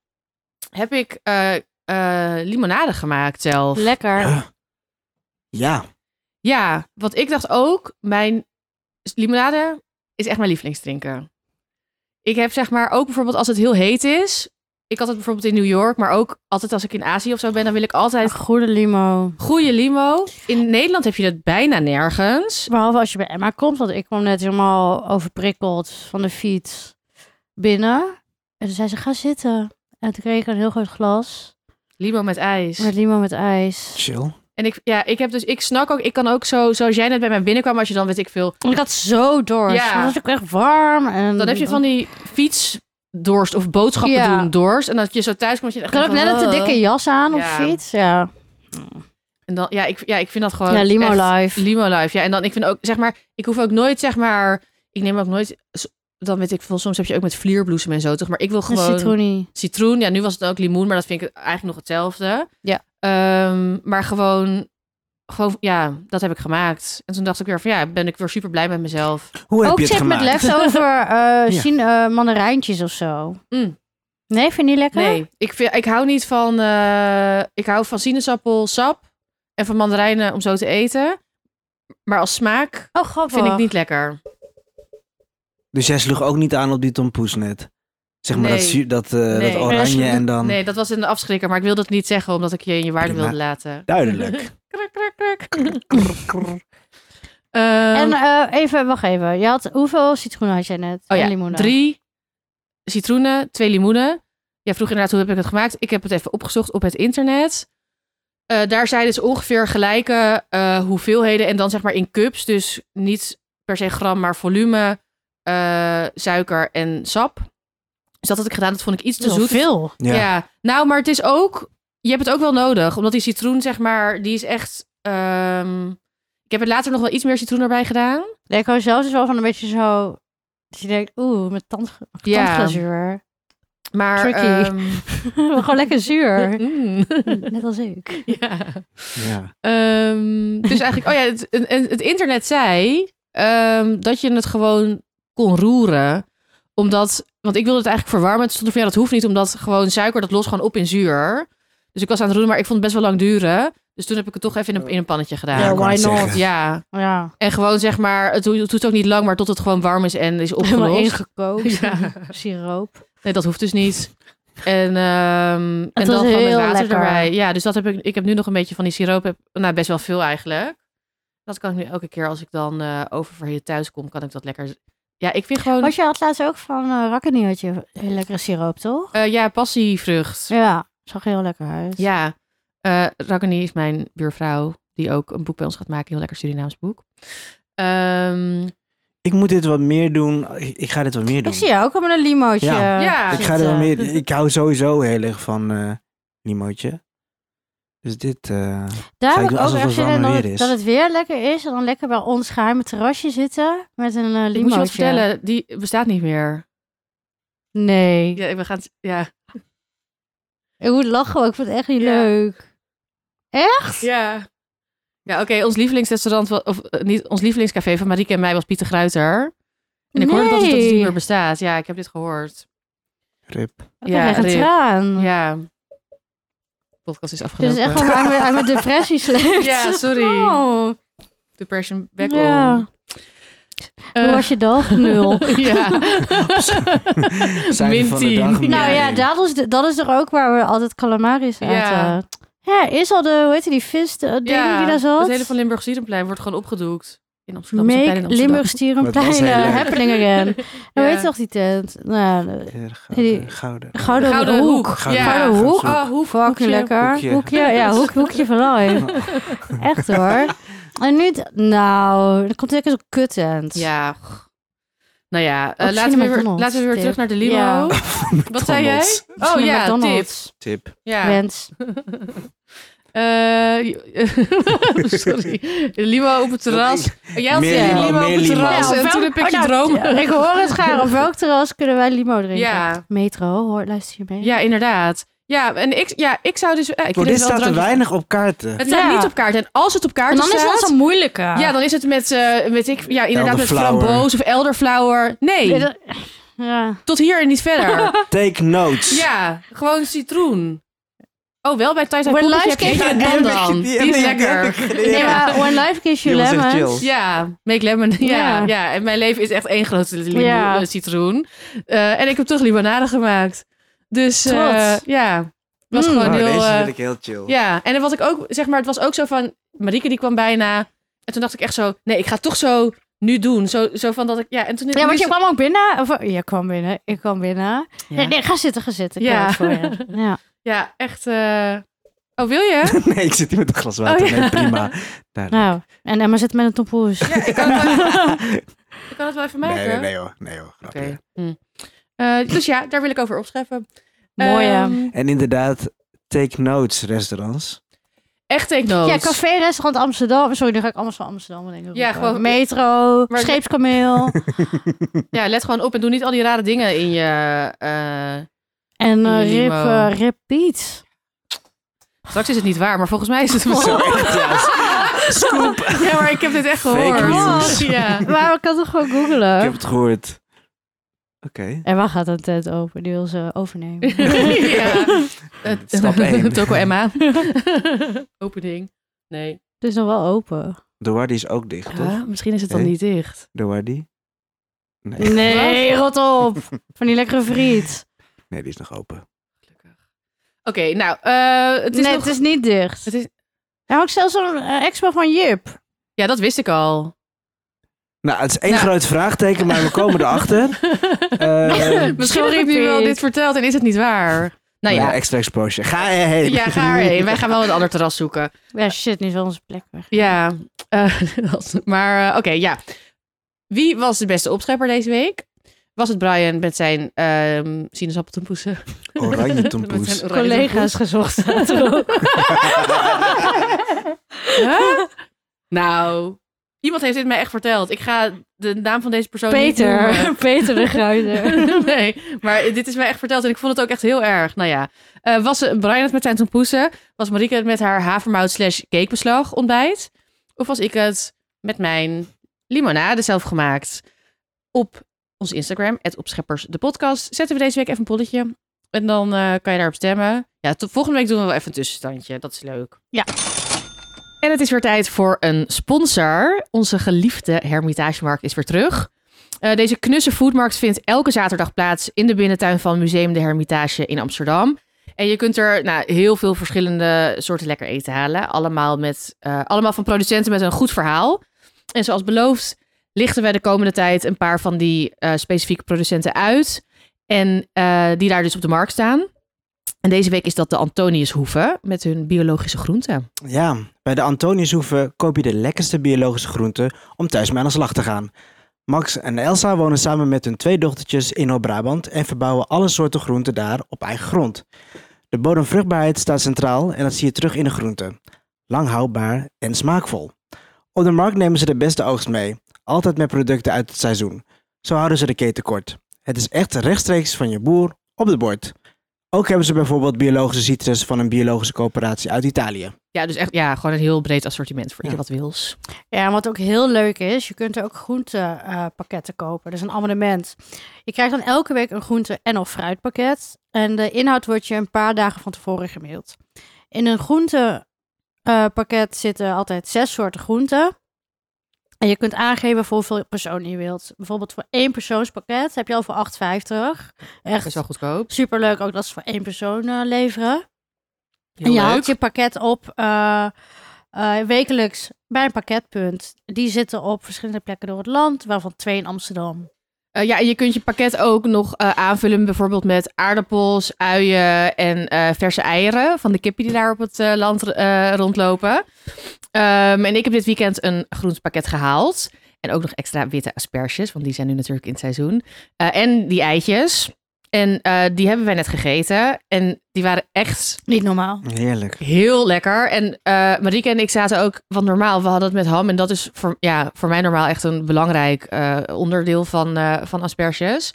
Speaker 2: heb ik eh, eh, limonade gemaakt zelf.
Speaker 1: Lekker.
Speaker 3: Ja. Ja.
Speaker 2: Ja, want ik dacht ook, mijn limonade is echt mijn lievelingsdrinken. Ik heb zeg maar ook bijvoorbeeld als het heel heet is. Ik had het bijvoorbeeld in New York, maar ook altijd als ik in Azië of zo ben, dan wil ik altijd
Speaker 1: Goede limo.
Speaker 2: goede limo. In Nederland heb je dat bijna nergens.
Speaker 1: Behalve als je bij Emma komt, want ik kwam net helemaal overprikkeld van de fiets binnen. En toen zei ze, ga zitten. En toen kreeg ik een heel groot glas
Speaker 2: Limo met ijs.
Speaker 1: met limo met ijs.
Speaker 3: Chill.
Speaker 2: En ik, ja, ik heb dus, ik snak ook, ik kan ook zo, zoals jij net bij mij binnenkwam, als je dan weet ik veel,
Speaker 1: En ik had zo dorst.
Speaker 2: Ja.
Speaker 1: Het was ook echt warm. En
Speaker 2: dan heb je van die fietsdorst of boodschappen
Speaker 1: Mm. Ja.
Speaker 2: doen dorst. En dat je zo thuis komt, dat je
Speaker 1: Ik
Speaker 2: echt
Speaker 1: had ook
Speaker 2: denkt
Speaker 1: net
Speaker 2: van,
Speaker 1: een te
Speaker 2: "Oh."
Speaker 1: dikke jas aan op
Speaker 2: Ja.
Speaker 1: fiets. Ja,
Speaker 2: En dan, ja, ik, ja, ik vind dat gewoon
Speaker 1: ja limo
Speaker 2: Oh, echt-
Speaker 1: life.
Speaker 2: Limo Life, ja. En dan, ik vind ook, zeg maar, ik hoef ook nooit, zeg maar, ik neem ook nooit, s- dan weet ik veel, soms heb je ook met vlierbloesem en zo, toch? Maar ik wil
Speaker 1: Een
Speaker 2: gewoon citroen.
Speaker 1: citroenie.
Speaker 2: Ja, nu was het ook limoen, maar dat vind ik eigenlijk nog hetzelfde.
Speaker 1: Ja.
Speaker 2: Ehm, maar gewoon, gewoon, ja, dat heb ik gemaakt. En toen dacht ik weer van, ja, ben ik weer super blij met mezelf.
Speaker 3: Hoe heb
Speaker 1: Ook
Speaker 3: je het
Speaker 1: check met
Speaker 3: gemaakt? <laughs>
Speaker 1: leftover eh
Speaker 3: Ja.
Speaker 1: zien, eh, mandarijntjes of zo.
Speaker 2: Mm.
Speaker 1: Nee, vind je niet lekker?
Speaker 2: Nee, ik, vind, ik hou niet van, eh, ik hou van sinaasappel, sap en van mandarijnen om zo te eten. Maar als smaak
Speaker 1: Oh, grappig.
Speaker 2: vind ik niet lekker.
Speaker 3: Dus jij sloeg ook niet aan op die tompoes net? Zeg maar
Speaker 2: Nee.
Speaker 3: dat, zuur- dat, eh,
Speaker 2: Nee.
Speaker 3: dat oranje en dan...
Speaker 2: Nee, dat was een afschrikker, maar ik wilde het niet zeggen omdat ik je in je waarde
Speaker 3: Prima.
Speaker 2: wilde laten. <laughs>
Speaker 3: Duidelijk.
Speaker 2: Krak, krak, krak. Ehm,
Speaker 1: En eh, even, wacht even. Je had, hoeveel citroenen had jij net?
Speaker 2: oh ja,
Speaker 1: En limoenen.
Speaker 2: drie citroenen, twee limoenen. Jij vroeg inderdaad hoe heb ik het gemaakt. Ik heb het even opgezocht op het internet. Eh, daar zeiden ze ongeveer gelijke eh, hoeveelheden en dan zeg maar in cups. Dus niet per se gram, maar volume, eh, suiker en sap. Dus dat had ik gedaan. Dat vond ik iets te
Speaker 1: Zo
Speaker 2: zoet.
Speaker 1: veel.
Speaker 3: Ja.
Speaker 2: Ja. nou, maar het is ook. Je hebt het ook wel nodig. Omdat die citroen, zeg maar, die is echt. ehm, ik heb er later nog wel iets meer citroen erbij gedaan.
Speaker 1: Nee, ik hou zelfs wel van een beetje zo... Dat je denkt, oeh, met tand,
Speaker 2: Ja.
Speaker 1: tandglazuur. <laughs>
Speaker 2: Maar.
Speaker 1: Tricky.
Speaker 2: ehm,
Speaker 1: Gewoon lekker
Speaker 2: <laughs>
Speaker 1: zuur. <laughs>
Speaker 2: mm,
Speaker 1: Net als ik.
Speaker 2: ja.
Speaker 3: ja.
Speaker 2: Ehm, dus eigenlijk. Oh ja, het, en- en het internet zei. ehm, dat je het gewoon kon roeren. Omdat. Want ik wilde het eigenlijk verwarmen. Toen stond er van ja, dat hoeft niet. Omdat gewoon suiker dat lost gewoon op in zuur. Dus ik was aan het roeren, maar ik vond het best wel lang duren. Dus toen heb ik het toch even in een, in een pannetje gedaan.
Speaker 1: Ja,
Speaker 3: ik wou
Speaker 1: why
Speaker 3: net
Speaker 1: not?
Speaker 3: zeggen.
Speaker 2: ja.
Speaker 1: Ja.
Speaker 2: En gewoon zeg maar, het doet, het doet ook niet lang, maar tot het gewoon warm is en is
Speaker 1: Helemaal
Speaker 2: opgelost.
Speaker 1: ingekookt.
Speaker 2: Ja. <laughs>
Speaker 1: Siroop.
Speaker 2: Nee, dat hoeft dus niet. En, ehm, en
Speaker 1: was
Speaker 2: dan gewoon met
Speaker 1: heel
Speaker 2: water
Speaker 1: lekker.
Speaker 2: erbij. Ja, dus dat heb ik. Ik heb nu nog een beetje van die siroop. Heb, nou, best wel veel eigenlijk. Dat kan ik nu elke keer als ik dan eh oververhit thuis kom, kan ik dat lekker. Ja, ik vind gewoon.
Speaker 1: Want je had laatst ook van uh, Rakkenie had je heel lekkere siroop, toch?
Speaker 2: eh, ja, passievrucht.
Speaker 1: Ja. Zag er heel lekker uit.
Speaker 2: Ja. eh Ragni is mijn buurvrouw, die ook een boek bij ons gaat maken. Heel lekker Surinaams boek. Ehm,
Speaker 3: Ik moet dit wat meer doen. Ik, ik ga dit wat meer doen.
Speaker 1: Ik zie jou ook al met een limootje. eh,
Speaker 3: Ja.
Speaker 2: Ja.
Speaker 3: Ik ga dit wat meer... Ik hou sowieso heel erg van eh limootje. Dus dit... eh,
Speaker 1: Daar
Speaker 3: Ga
Speaker 1: heb
Speaker 3: ik
Speaker 1: ik
Speaker 3: doen
Speaker 1: ook
Speaker 3: alsof
Speaker 1: echt
Speaker 3: het
Speaker 1: zin
Speaker 3: warm
Speaker 1: in dat,
Speaker 3: weer
Speaker 1: het-
Speaker 3: is.
Speaker 1: dat het weer lekker is. En dan lekker bij ons geheime terrasje zitten met een eh
Speaker 2: ik moet je wat
Speaker 1: limootje.
Speaker 2: vertellen, die bestaat niet meer.
Speaker 1: Nee.
Speaker 2: Ja, we gaan. Ja.
Speaker 1: Ik moet lachen, want ik vind het echt niet
Speaker 2: Ja.
Speaker 1: leuk.
Speaker 2: Ja. Ja, oké, ons lievelingsrestaurant, wa- of eh, niet, ons lievelingscafé van Marieke en mij was Pieter Gruiter. En ik hoorde dat het, dat het niet
Speaker 1: Nee.
Speaker 2: meer bestaat. Ja, ik heb dit gehoord.
Speaker 3: Rip.
Speaker 1: Ik krijg echt een
Speaker 2: rip.
Speaker 1: traan.
Speaker 2: Ja. De podcast is
Speaker 1: Dit
Speaker 2: afgelopen.
Speaker 1: is echt gewoon uit mijn, uit mijn depressie slecht.
Speaker 2: <laughs> Ja, sorry.
Speaker 1: Oh.
Speaker 2: Depression back
Speaker 1: Ja.
Speaker 2: on.
Speaker 1: Hoe
Speaker 2: Eh,
Speaker 1: was je dag?
Speaker 2: <laughs>
Speaker 1: Nul.
Speaker 2: ja.
Speaker 1: <laughs>
Speaker 3: Cijfer van de dag,
Speaker 2: tien.
Speaker 1: Nou ja,
Speaker 3: nee.
Speaker 1: dat is, de- dat is er ook waar we altijd calamaris
Speaker 2: Ja.
Speaker 1: uit. Ja. ja, is al de, hoe heet die, die vis, de- ding
Speaker 2: Ja,
Speaker 1: die daar zat?
Speaker 2: Het hele van Limburg Sierenplein wordt gewoon opgedoekt. In Amsterdam. is een plein in
Speaker 1: Make
Speaker 2: Amsterdam.
Speaker 1: Limburg
Speaker 3: Dat was
Speaker 1: Stierenplein
Speaker 3: heel
Speaker 1: eh,
Speaker 3: leuk.
Speaker 1: happening
Speaker 2: <laughs>
Speaker 1: again. Hoe heet toch die tent? Nou, de-
Speaker 3: Ja,
Speaker 1: Die-
Speaker 3: Gouden. eh, Gouden.
Speaker 1: Gouden,
Speaker 2: Gouden
Speaker 1: Hoek.
Speaker 2: Hoek.
Speaker 3: Gouden
Speaker 2: Ja.
Speaker 1: Gouden Hoek.
Speaker 3: Gouden
Speaker 2: Oh, hoek.
Speaker 1: Fucking
Speaker 2: hoekje.
Speaker 1: lekker.
Speaker 3: Hoekje.
Speaker 1: Hoekje. ja, hoek, hoekje van Looi. <laughs> Echt hoor. En nu, d- nou, er komt zeker zo'n kuttent.
Speaker 2: Ja. Nou ja, eh,
Speaker 1: Ook
Speaker 2: laten,
Speaker 1: Cine
Speaker 2: we weer,
Speaker 1: McDonald's
Speaker 2: laten we weer
Speaker 1: tip.
Speaker 2: terug naar de limo.
Speaker 1: Ja.
Speaker 3: <laughs>
Speaker 2: Wat zei jij?
Speaker 3: McDonald's.
Speaker 2: Oh ja, tip.
Speaker 1: McDonald's.
Speaker 3: Tip.
Speaker 2: Ja.
Speaker 1: Wens.
Speaker 2: <laughs> Eh, <laughs> sorry. De limo op het terras. Oh, Jij had
Speaker 3: Meer
Speaker 2: die
Speaker 1: limo,
Speaker 2: limo op
Speaker 3: meer
Speaker 2: het
Speaker 3: limo.
Speaker 2: terras
Speaker 3: Ja,
Speaker 2: en
Speaker 1: welk-
Speaker 2: toen heb ik
Speaker 1: oh,
Speaker 2: je
Speaker 1: nou,
Speaker 2: droom.
Speaker 1: ja, Ik hoor het <laughs> graag. Op welk terras kunnen wij limo drinken?
Speaker 2: Ja.
Speaker 1: Metro, hoor, luister je mee?
Speaker 2: Ja, inderdaad. Ja, en ik, ja, ik zou dus... eh, ik
Speaker 3: Voor
Speaker 2: vind
Speaker 3: dit
Speaker 2: het wel
Speaker 3: staat er
Speaker 2: drankje-
Speaker 3: weinig op kaarten.
Speaker 2: Het staat
Speaker 1: Ja.
Speaker 2: niet op kaart. En als het op kaart
Speaker 1: En dan is
Speaker 2: staat...
Speaker 1: dat zo'n moeilijke.
Speaker 2: Ja, dan is het met, eh weet ik, ja, inderdaad met
Speaker 3: Elderflower.
Speaker 2: framboos of elderflower. Nee,
Speaker 1: Ja.
Speaker 2: tot hier en niet
Speaker 1: <laughs>
Speaker 2: verder.
Speaker 3: Take notes.
Speaker 2: ja, gewoon citroen. Oh, wel bij Thais
Speaker 1: When
Speaker 2: Poppetje heb
Speaker 1: life
Speaker 2: je
Speaker 1: gives
Speaker 2: even
Speaker 1: you
Speaker 2: een
Speaker 1: lemons.
Speaker 3: <laughs>
Speaker 2: pandan. Die is lekker.
Speaker 1: Nee, maar
Speaker 3: Oh,
Speaker 1: when life gives you
Speaker 3: Die was echt
Speaker 1: lemons.
Speaker 3: chill.
Speaker 2: Ja, make lemon. <laughs> Ja, ja.
Speaker 1: Ja.
Speaker 2: en mijn leven is echt één grote limo-
Speaker 1: Ja.
Speaker 2: eh, citroen. Eh, en ik heb toch limonade gemaakt. Dus eh,
Speaker 1: Trots.
Speaker 2: ja, was
Speaker 1: Mm.
Speaker 2: gewoon
Speaker 1: Nou,
Speaker 2: heel...
Speaker 3: Oh, deze
Speaker 2: eh,
Speaker 3: vind ik heel chill.
Speaker 2: Ja, en wat ik ook, zeg maar, het was ook zo van, Marieke die kwam bijna. En toen dacht ik echt zo, nee, ik ga het toch zo nu doen. Zo, zo van dat ik, ja, en toen...
Speaker 1: Ja,
Speaker 2: nu
Speaker 1: want je
Speaker 2: is-
Speaker 1: kwam ook binnen. Of, oh, je kwam binnen. Ik kwam binnen. Nee, nee, ga zitten, ga zitten. Ik
Speaker 2: Ja.
Speaker 1: ja. Het voor je. <laughs> ja.
Speaker 2: Ja, echt. eh, Oh, wil je?
Speaker 3: <laughs> Nee, ik zit hier met een glas water.
Speaker 2: Oh, ja.
Speaker 3: Nee,
Speaker 2: <laughs>
Speaker 3: prima. Daar-
Speaker 1: Nou, en Emma zit met een tompoes.
Speaker 2: Ja, ik kan het wel,
Speaker 1: <laughs>
Speaker 2: ik kan het wel even maken.
Speaker 3: nee, nee, nee hoor. Nee hoor.
Speaker 2: Oké.
Speaker 3: grapje.
Speaker 2: Hm. Eh, dus ja, daar wil ik over opscheffen.
Speaker 1: Mooi, hè?
Speaker 2: Ehm,
Speaker 3: En inderdaad, take notes restaurants.
Speaker 2: echt take notes.
Speaker 1: Ja, café, restaurant Amsterdam. Sorry, nu ga ik alles van Amsterdam denken.
Speaker 2: Ja,
Speaker 1: roepen.
Speaker 2: gewoon-
Speaker 1: Metro,
Speaker 2: Maar- <laughs>
Speaker 1: scheepskameel.
Speaker 2: Ja, let gewoon op en doe niet al die rare dingen in je... eh,
Speaker 1: en eh,
Speaker 2: Limo.
Speaker 1: rip, eh, rip Piet.
Speaker 2: Straks is het niet waar, maar volgens mij is het wel
Speaker 3: Zo, echt, ja. Scoop.
Speaker 2: Ja, maar ik heb dit echt
Speaker 3: Fake
Speaker 2: gehoord.
Speaker 3: news. <laughs>
Speaker 2: Ja.
Speaker 1: Maar ik kan toch gewoon
Speaker 3: Ik
Speaker 1: googelen.
Speaker 3: heb het gehoord. Oké.
Speaker 1: En waar gaat een tent open? Die wil ze
Speaker 2: <laughs>
Speaker 1: overnemen.
Speaker 2: ja. <laughs> Het,
Speaker 3: Stap één.
Speaker 2: Toko
Speaker 3: <laughs>
Speaker 2: Emma. Opening. Nee.
Speaker 1: Het is nog wel open.
Speaker 3: De Wardy is ook dicht, toch?
Speaker 2: misschien is het
Speaker 3: dan Nee.
Speaker 2: niet dicht.
Speaker 3: De Wardy? Nee.
Speaker 1: Nee, rot op. Van die lekkere friet.
Speaker 3: Nee, die is nog open.
Speaker 2: Oké, nou, eh, <laughs> het is
Speaker 1: nee,
Speaker 2: nog...
Speaker 1: het is niet dicht.
Speaker 2: Het is-
Speaker 1: Nou, ook zelfs een eh, expo van Jip.
Speaker 2: Ja, dat wist ik al.
Speaker 3: Nou, het is één
Speaker 2: Nou.
Speaker 3: groot vraagteken, maar we komen
Speaker 2: <laughs>
Speaker 3: erachter. <laughs> Eh,
Speaker 2: Misschien heb
Speaker 1: Sorry,
Speaker 2: ik nu wel
Speaker 1: Piet.
Speaker 2: dit verteld en is het niet waar. Nou ja,
Speaker 3: Extra exposure. Ga er heen.
Speaker 2: ja ga erheen. Wij gaan wel een ander terras zoeken.
Speaker 1: Ja, shit, nu is wel onze plek weg.
Speaker 2: Ja, eh, <laughs> dat- maar eh, oké, ja. Wie was de beste opschepper deze week? Was het Brian met zijn ehm sinaasappeltompoesen? <laughs>
Speaker 3: Oranje
Speaker 2: Met
Speaker 3: tompoes.
Speaker 2: zijn oranje
Speaker 1: Collega's
Speaker 2: <laughs>
Speaker 1: gezocht.
Speaker 2: Oh, Huh? Nou, iemand heeft dit mij echt verteld. Ik ga de naam van deze persoon niet
Speaker 1: Peter. <laughs>
Speaker 2: noemen.
Speaker 1: Peter de Gruider.
Speaker 2: <laughs> nee, maar dit is mij echt verteld en ik vond het ook echt heel erg. Nou ja, Eh, was eh, Brian het met zijn tompoesen? Was Marieke het met haar havermout slash cakebeslag ontbijt? Of was ik het met mijn limonade zelf gemaakt? Op ons Instagram, het Opscheppers de podcast, zetten we deze week even een polletje. En dan eh, kan je daarop stemmen. Ja, tot volgende week doen we wel even een tussenstandje. Dat is leuk.
Speaker 1: Ja.
Speaker 2: En het is weer tijd voor een sponsor. Onze geliefde Hermitagemarkt is weer terug. Eh, deze knusse foodmarkt vindt elke zaterdag plaats in de binnentuin van Museum de Hermitage in Amsterdam. En je kunt er nou, heel veel verschillende soorten lekker eten halen. Allemaal, met, eh, allemaal van producenten met een goed verhaal. En zoals beloofd lichten wij de komende tijd een paar van die eh, specifieke producenten uit. En eh, die daar dus op de markt staan. En deze week is dat de Antoniushoeve met hun biologische groenten.
Speaker 3: Ja, bij de Antoniushoeve koop je de lekkerste biologische groenten om thuis mee aan de slag te gaan. Max en Elsa wonen samen met hun twee dochtertjes in Noord-Brabant en verbouwen alle soorten groenten daar op eigen grond. De bodemvruchtbaarheid staat centraal en dat zie je terug in de groenten. Lang houdbaar en smaakvol. Op de markt nemen ze de beste oogst mee, altijd met producten uit het seizoen. Zo houden ze de keten kort. Het is echt rechtstreeks van je boer op het bord. Ook hebben ze bijvoorbeeld biologische citrus van een biologische coöperatie uit Italië.
Speaker 2: Ja, dus echt ja, gewoon een heel breed assortiment voor
Speaker 3: Ja.
Speaker 2: ieder wat wils.
Speaker 1: Ja, en wat ook heel leuk is, je kunt er ook groentepakketten kopen. Dus een abonnement. Je krijgt dan elke week een groente- en of fruitpakket. En de inhoud wordt je een paar dagen van tevoren gemaild. In een groentepakket zitten altijd zes soorten groenten. En je kunt aangeven voor hoeveel persoon je wilt. Bijvoorbeeld voor één persoonspakket heb je al voor 8,50.
Speaker 2: Dat is
Speaker 1: Echt
Speaker 2: wel goedkoop.
Speaker 1: superleuk ook dat ze voor één persoon eh, leveren.
Speaker 2: Heel
Speaker 1: en je
Speaker 2: leuk.
Speaker 1: houdt je pakket op eh, eh, wekelijks bij een pakketpunt. Die zitten op verschillende plekken door het land, waarvan twee in Amsterdam.
Speaker 2: Eh, ja, en je kunt je pakket ook nog eh, aanvullen, bijvoorbeeld met aardappels, uien en eh, verse eieren van de kippen die daar op het eh, land eh, rondlopen. Ehm, en ik heb dit weekend een groentepakket gehaald. En ook nog extra witte asperges, want die zijn nu natuurlijk in het seizoen. Eh, en die eitjes. En eh, die hebben wij net gegeten. En die waren echt
Speaker 1: Niet normaal.
Speaker 3: Heerlijk.
Speaker 2: Heel lekker. En eh Marieke en ik zaten ook, want normaal, we hadden het met ham. En dat is voor, ja, voor mij normaal echt een belangrijk eh, onderdeel van, eh, van asperges.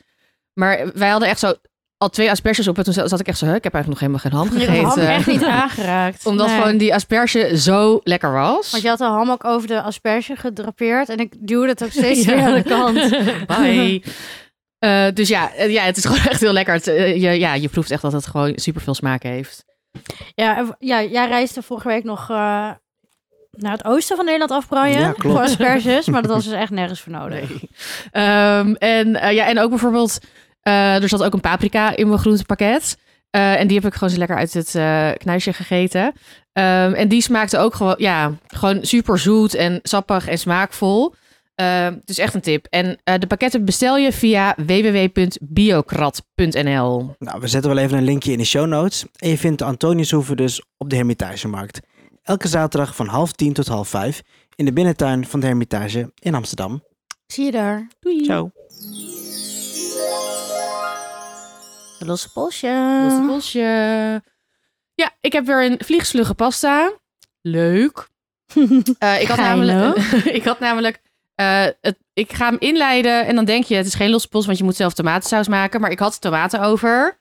Speaker 2: Maar wij hadden echt zo al twee asperges op. En toen zat ik echt zo, "Huh, ik heb eigenlijk nog helemaal geen ham
Speaker 1: Ik heb
Speaker 2: gegeten.
Speaker 1: ham echt
Speaker 2: <laughs>
Speaker 1: niet aangeraakt.
Speaker 2: Omdat
Speaker 1: Nee.
Speaker 2: gewoon die asperge zo lekker was.
Speaker 1: Want je had de ham ook over de asperge gedrapeerd en ik duwde het ook
Speaker 2: <laughs>
Speaker 1: steeds weer aan de kant.
Speaker 2: Bye. Eh, dus ja, eh, ja, het is gewoon echt heel lekker. Het, eh, je, ja, je proeft echt dat het gewoon superveel smaak heeft.
Speaker 1: Ja, en v- ja, jij reisde vorige week nog eh, naar het oosten van Nederland af, Brian,
Speaker 3: Ja, klopt.
Speaker 1: voor asperges. Maar dat
Speaker 2: <laughs>
Speaker 1: was dus echt nergens voor nodig.
Speaker 2: Ehm, en, eh, ja, en ook bijvoorbeeld, eh, er zat ook een paprika in mijn groentepakket. Eh, en die heb ik gewoon zo lekker uit het eh, knuisje gegeten. Ehm, en die smaakte ook gewoon, ja, gewoon super zoet en sappig en smaakvol. Ehm, dus echt een tip. En eh, de pakketten bestel je via www.biokrat.nl.
Speaker 3: Nou, we zetten wel even een linkje in de show notes. En je vindt de Antoniushoeve dus op de Hermitagemarkt. Elke zaterdag van half tien tot half vijf in de binnentuin van de Hermitage in Amsterdam.
Speaker 1: Zie je daar?
Speaker 2: Doei.
Speaker 3: Ciao.
Speaker 1: De losse polsje.
Speaker 2: Dat
Speaker 1: Eh.
Speaker 2: bosje. Ja, ik heb weer een vliegslugge pasta.
Speaker 1: <laughs>
Speaker 2: Leuk. Eh, ik,
Speaker 1: Geil,
Speaker 2: had namelijk, <laughs> ik had namelijk. eh, het, ik ga hem inleiden en dan denk je, het is geen losse pols, want je moet zelf tomatensaus maken. Maar ik had tomaten over.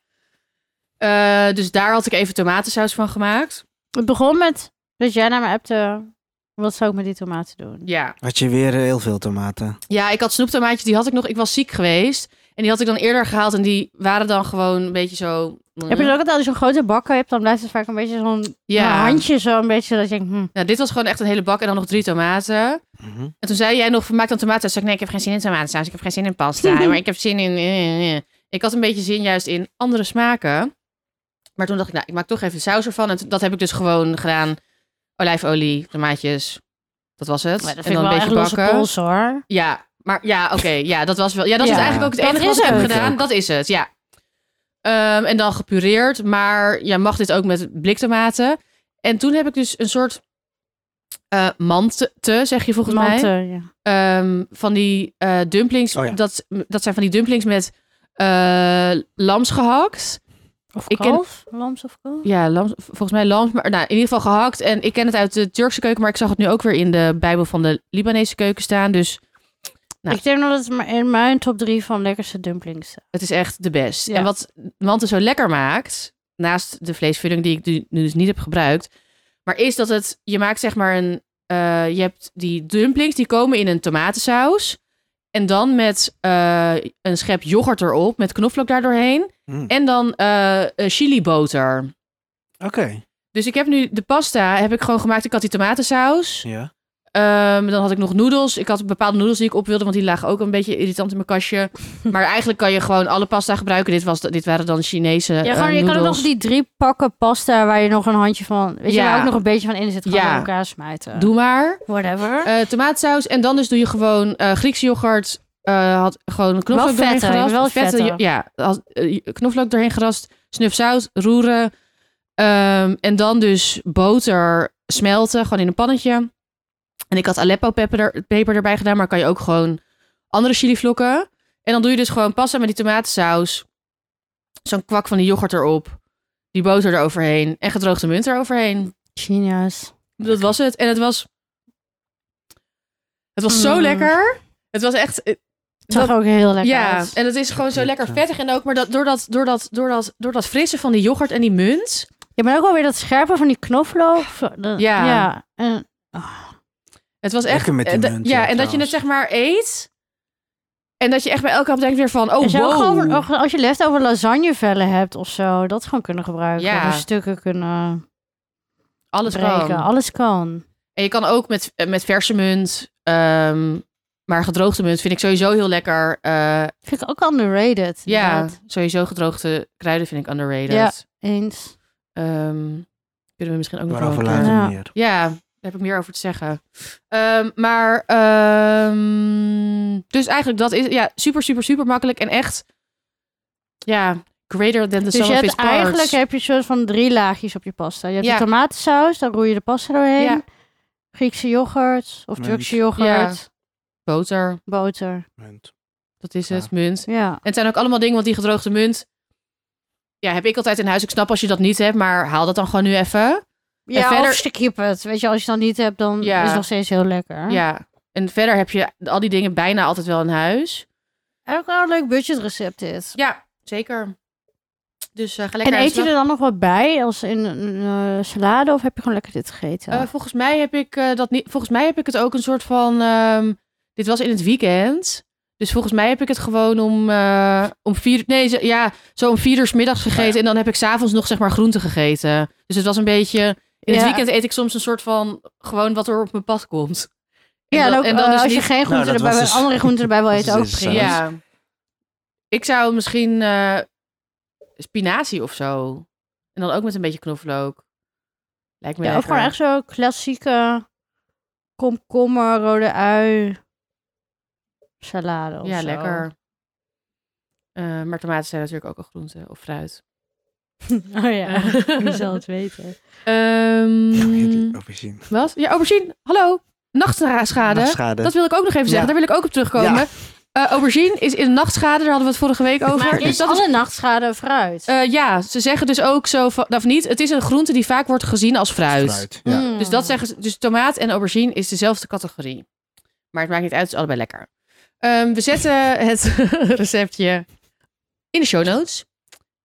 Speaker 2: Eh, dus daar had ik even tomatensaus van gemaakt.
Speaker 1: Het begon met dat jij naar me appte. Wat zou ik met die tomaten doen?
Speaker 2: Ja.
Speaker 3: Had je weer eh, heel veel tomaten.
Speaker 2: ja, ik had snoeptomaatjes, die had ik nog. Ik was ziek geweest. En die had ik dan eerder gehaald en die waren dan gewoon een beetje zo...
Speaker 1: Heb je dat ook altijd als je zo'n grote bakken hebt, dan blijft het vaak een beetje zo'n
Speaker 2: Ja.
Speaker 1: handje zo een beetje dat je denkt, hm.
Speaker 2: Nou, dit was gewoon echt een hele bak en dan nog drie tomaten. En toen zei jij nog, maak dan tomatensaus. Zei Ik nee, ik heb geen zin in tomatensaus. Ik heb geen zin in
Speaker 1: <laughs>
Speaker 2: pasta. maar ik heb zin in... eh, eh. Ik had een beetje zin juist in andere smaken. Maar toen dacht ik, nou, ik maak toch even saus ervan. En t- dat heb ik dus gewoon gedaan. Olijfolie, tomaatjes. Dat was het.
Speaker 1: Maar dat vind
Speaker 2: en
Speaker 1: ik
Speaker 2: dan
Speaker 1: wel
Speaker 2: een
Speaker 1: echt
Speaker 2: beetje
Speaker 1: losse
Speaker 2: bakken.
Speaker 1: pols hoor.
Speaker 2: Ja, maar ja, oké. ja, dat was wel... Ja, dat
Speaker 1: Ja.
Speaker 2: is eigenlijk ook het
Speaker 1: Dat
Speaker 2: enige
Speaker 1: is
Speaker 2: wat ik heb
Speaker 1: het.
Speaker 2: gedaan. Dat is het, ja. Ehm, en dan gepureerd. Maar ja, mag dit ook met bliktomaten. En toen heb ik dus een soort... eh mante, zeg je volgens mij.
Speaker 1: Mante, ja.
Speaker 2: Ehm, van die eh, dumplings.
Speaker 3: Oh ja.
Speaker 2: dat, dat zijn van die dumplings met eh lams gehakt.
Speaker 1: Of
Speaker 2: Ik ken-
Speaker 1: kalf, lams of kalf.
Speaker 2: Ja, lams, volgens mij lams. Maar nou, in ieder geval gehakt. En ik ken het uit de Turkse keuken. Maar ik zag het nu ook weer in de Bijbel van de Libanese keuken staan. Dus Nou.
Speaker 1: Ik denk dat het maar in mijn top drie van lekkerste dumplings staat.
Speaker 2: het is echt de best.
Speaker 1: Ja.
Speaker 2: En wat Mante zo lekker maakt. Naast de vleesvulling die ik nu, nu dus niet heb gebruikt. Maar is dat het. Je maakt zeg maar een. eh, je hebt die dumplings. Die komen in een tomatensaus. En dan met eh, een schep yoghurt erop. Met knoflook daardoorheen.
Speaker 3: Mm.
Speaker 2: En dan eh chili boter.
Speaker 3: Oké.
Speaker 2: Dus ik heb nu de pasta heb ik gewoon gemaakt. Ik had die tomatensaus.
Speaker 3: Ja.
Speaker 2: Ehm, dan had ik nog noedels. Ik had bepaalde noedels die ik op wilde, want die lagen ook een beetje irritant in mijn kastje. Maar eigenlijk kan je gewoon alle pasta gebruiken. Dit, was, dit waren dan Chinese
Speaker 1: Ja,
Speaker 2: eh,
Speaker 1: gewoon, je kan ook
Speaker 2: noedels.
Speaker 1: nog die drie pakken pasta waar je nog een handje van, weet je,
Speaker 2: Ja.
Speaker 1: waar ook nog een beetje van in zit, gewoon
Speaker 2: Ja.
Speaker 1: bij elkaar smijten.
Speaker 2: Doe maar.
Speaker 1: Whatever.
Speaker 2: Eh tomaatsaus. En dan dus doe je gewoon eh Griekse yoghurt. eh, had gewoon een knoflook
Speaker 1: Wel
Speaker 2: doorheen
Speaker 1: vette,
Speaker 2: gerast.
Speaker 1: wel vette.
Speaker 2: jo- Ja, had, eh, knoflook doorheen gerast. Snuf zout, roeren. Ehm, en dan dus boter smelten, gewoon in een pannetje. En ik had Aleppo peper, er- peper erbij gedaan, maar kan je ook gewoon andere chili vlokken. En dan doe je dus gewoon pasta met die tomatensaus. Zo'n kwak van die yoghurt erop. Die boter eroverheen. En gedroogde munt eroverheen.
Speaker 1: Genius.
Speaker 2: Dat was het. En het was. Het was zo
Speaker 1: Mm.
Speaker 2: lekker. Het was echt. eh,
Speaker 1: Het zag ook heel lekker
Speaker 2: ja,
Speaker 1: uit.
Speaker 2: en het is gewoon zo lekker
Speaker 3: Ja.
Speaker 2: vettig. En ook maar dat, door, dat, door, dat, door, dat, door dat frisse van die yoghurt en die munt.
Speaker 1: Ja, maar ook wel weer dat scherpe van die knoflook. Zo, de-
Speaker 2: Ja.
Speaker 1: ja. En,
Speaker 2: Het was echt...
Speaker 3: Lekker met die
Speaker 2: eh, dat-
Speaker 3: munt,
Speaker 2: ja,
Speaker 3: ja,
Speaker 2: en dat je het
Speaker 3: trouwens.
Speaker 2: zeg maar eet. En dat je echt bij elke hap denkt weer van... Oh,
Speaker 1: en zou ook gewoon,
Speaker 2: wow.
Speaker 1: ook als je leftover lasagnevellen hebt of zo, dat gewoon kunnen gebruiken.
Speaker 2: Ja.
Speaker 1: Of in stukken kunnen
Speaker 2: Alles
Speaker 1: breken.
Speaker 2: kan.
Speaker 1: Alles kan.
Speaker 2: En je kan ook met, eh, met verse munt... ehm, maar gedroogde munt vind ik sowieso heel lekker. Eh,
Speaker 1: Vind ik ook underrated.
Speaker 2: ja,
Speaker 1: inderdaad.
Speaker 2: sowieso gedroogde kruiden vind ik underrated.
Speaker 1: Ja. Eens.
Speaker 2: Ehm, kunnen we misschien ook nog wel
Speaker 3: Waarover
Speaker 2: een keer-
Speaker 3: later
Speaker 1: Ja.
Speaker 3: meer.
Speaker 2: Ja, daar heb ik meer over te zeggen. Ehm, maar, ehm, dus eigenlijk dat is ja, super, super, super makkelijk. En echt, ja, greater than the
Speaker 1: Dus
Speaker 2: sum
Speaker 1: je
Speaker 2: of
Speaker 1: hebt
Speaker 2: its parts.
Speaker 1: eigenlijk heb je een soort van drie laagjes op je pasta. Je hebt
Speaker 2: Ja.
Speaker 1: de tomatensaus, dan roei je de pasta doorheen.
Speaker 2: Ja.
Speaker 1: Griekse yoghurt of
Speaker 3: Munt.
Speaker 1: Turkse yoghurt.
Speaker 2: Boter,
Speaker 1: Boter.
Speaker 3: Moment.
Speaker 2: dat is het,
Speaker 3: Ja.
Speaker 2: munt.
Speaker 1: Ja.
Speaker 2: En het zijn ook allemaal dingen, want die gedroogde munt... Ja, heb ik altijd in huis. Ik snap als je dat niet hebt, maar haal dat dan gewoon nu even.
Speaker 1: Ja,
Speaker 2: verder-
Speaker 1: of skip het. Weet je, als je het dan niet hebt, dan
Speaker 2: Ja.
Speaker 1: is het nog steeds heel lekker.
Speaker 2: Ja. En verder heb je al die dingen bijna altijd wel in huis.
Speaker 1: En ook wel een leuk budgetrecept dit.
Speaker 2: Ja, zeker. Dus eh, ga lekker aan
Speaker 1: en
Speaker 2: de
Speaker 1: eet je
Speaker 2: slag.
Speaker 1: er dan nog wat bij, als in een eh, salade, of heb je gewoon lekker dit gegeten?
Speaker 2: Eh, volgens mij heb ik eh, dat niet. Volgens mij heb ik het ook een soort van. ehm, dit was in het weekend. Dus volgens mij heb ik het gewoon om, eh, om vier. Nee, zo- ja, zo om vier uur 's
Speaker 1: Nou
Speaker 2: middags gegeten. En dan heb ik s'avonds nog zeg maar groente gegeten. Dus het was een beetje. In het
Speaker 1: Ja.
Speaker 2: weekend eet ik soms een soort van. Gewoon wat er op mijn pad komt.
Speaker 1: ja, en ook
Speaker 2: en dan
Speaker 1: eh,
Speaker 2: dus
Speaker 1: als je
Speaker 2: niet-
Speaker 1: geen groente
Speaker 3: dat
Speaker 1: erbij
Speaker 3: was
Speaker 1: wil,
Speaker 3: dus- <laughs>
Speaker 1: andere groenten erbij wil
Speaker 3: dat
Speaker 1: eten,
Speaker 3: is
Speaker 1: ook
Speaker 3: dus,
Speaker 1: prima.
Speaker 3: eh,
Speaker 1: Ja.
Speaker 2: Ja. Ik zou misschien. eh, spinazie of zo. En dan ook met een beetje knoflook. Lijkt me
Speaker 1: of
Speaker 2: lekker.
Speaker 1: gewoon echt zo klassieke komkommer, rode ui, salade of
Speaker 2: Ja,
Speaker 1: zo.
Speaker 2: lekker. Eh, maar tomaten zijn natuurlijk ook een groente of fruit.
Speaker 1: <laughs> oh ja, <laughs> wie zal het weten.
Speaker 2: Ehm,
Speaker 3: Ja,
Speaker 1: Mm.
Speaker 3: jullie aubergine.
Speaker 2: <laughs> wat? Ja, aubergine. Hallo. Nachtschade.
Speaker 3: Nachtschade.
Speaker 2: Dat wil ik ook nog even zeggen.
Speaker 3: Ja.
Speaker 2: Daar wil ik ook op terugkomen.
Speaker 3: Ja.
Speaker 2: Eh, aubergine is in nachtschade. Daar hadden we het vorige week over.
Speaker 1: Maar Dus is
Speaker 2: dat
Speaker 1: alle nachtschade fruit?
Speaker 2: eh, ja, ze zeggen dus ook zo van... Of niet, het is een groente die vaak wordt gezien als fruit.
Speaker 3: Fruit, Ja.
Speaker 1: Mm.
Speaker 2: Dus dat zeggen ze. Dus tomaat en aubergine is dezelfde categorie. Maar het maakt niet uit, het is allebei lekker. Ehm, we zetten het <laughs> receptje in de show notes.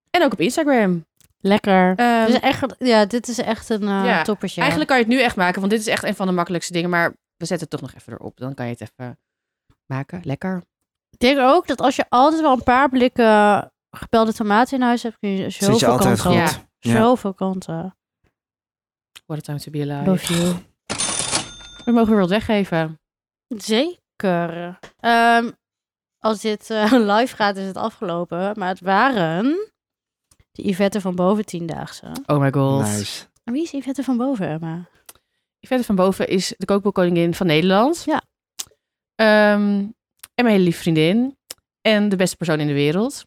Speaker 2: En ook op Instagram.
Speaker 1: Lekker.
Speaker 2: Ehm,
Speaker 1: Dit is echt, ja, dit is echt een eh,
Speaker 2: Ja,
Speaker 1: toppertje.
Speaker 2: Eigenlijk kan je het nu echt maken, want dit is echt een van de makkelijkste dingen. Maar we zetten het toch nog even erop. Dan kan je het even maken. Lekker.
Speaker 1: Ik denk ook dat als je altijd wel een paar blikken gepelde tomaten in huis hebt, kun je
Speaker 3: Zit je
Speaker 1: zoveel
Speaker 3: altijd
Speaker 1: kanten.
Speaker 3: goed.
Speaker 1: op.
Speaker 2: Ja.
Speaker 3: Ja.
Speaker 1: Zoveel kanten.
Speaker 2: What a time to be alive.
Speaker 1: Love you.
Speaker 2: We mogen weer wat weggeven.
Speaker 1: Zeker. Ehm, als dit eh, <laughs> live gaat, is het afgelopen. Maar het waren de Yvette van Boven tiendaagse.
Speaker 2: Oh my god.
Speaker 3: Nice.
Speaker 1: En Wie is Yvette van Boven, Emma?
Speaker 2: Yvette van Boven is de kookboekkoningin van Nederland.
Speaker 1: Ja.
Speaker 2: Ehm, en mijn hele lieve vriendin. En de beste persoon in de wereld.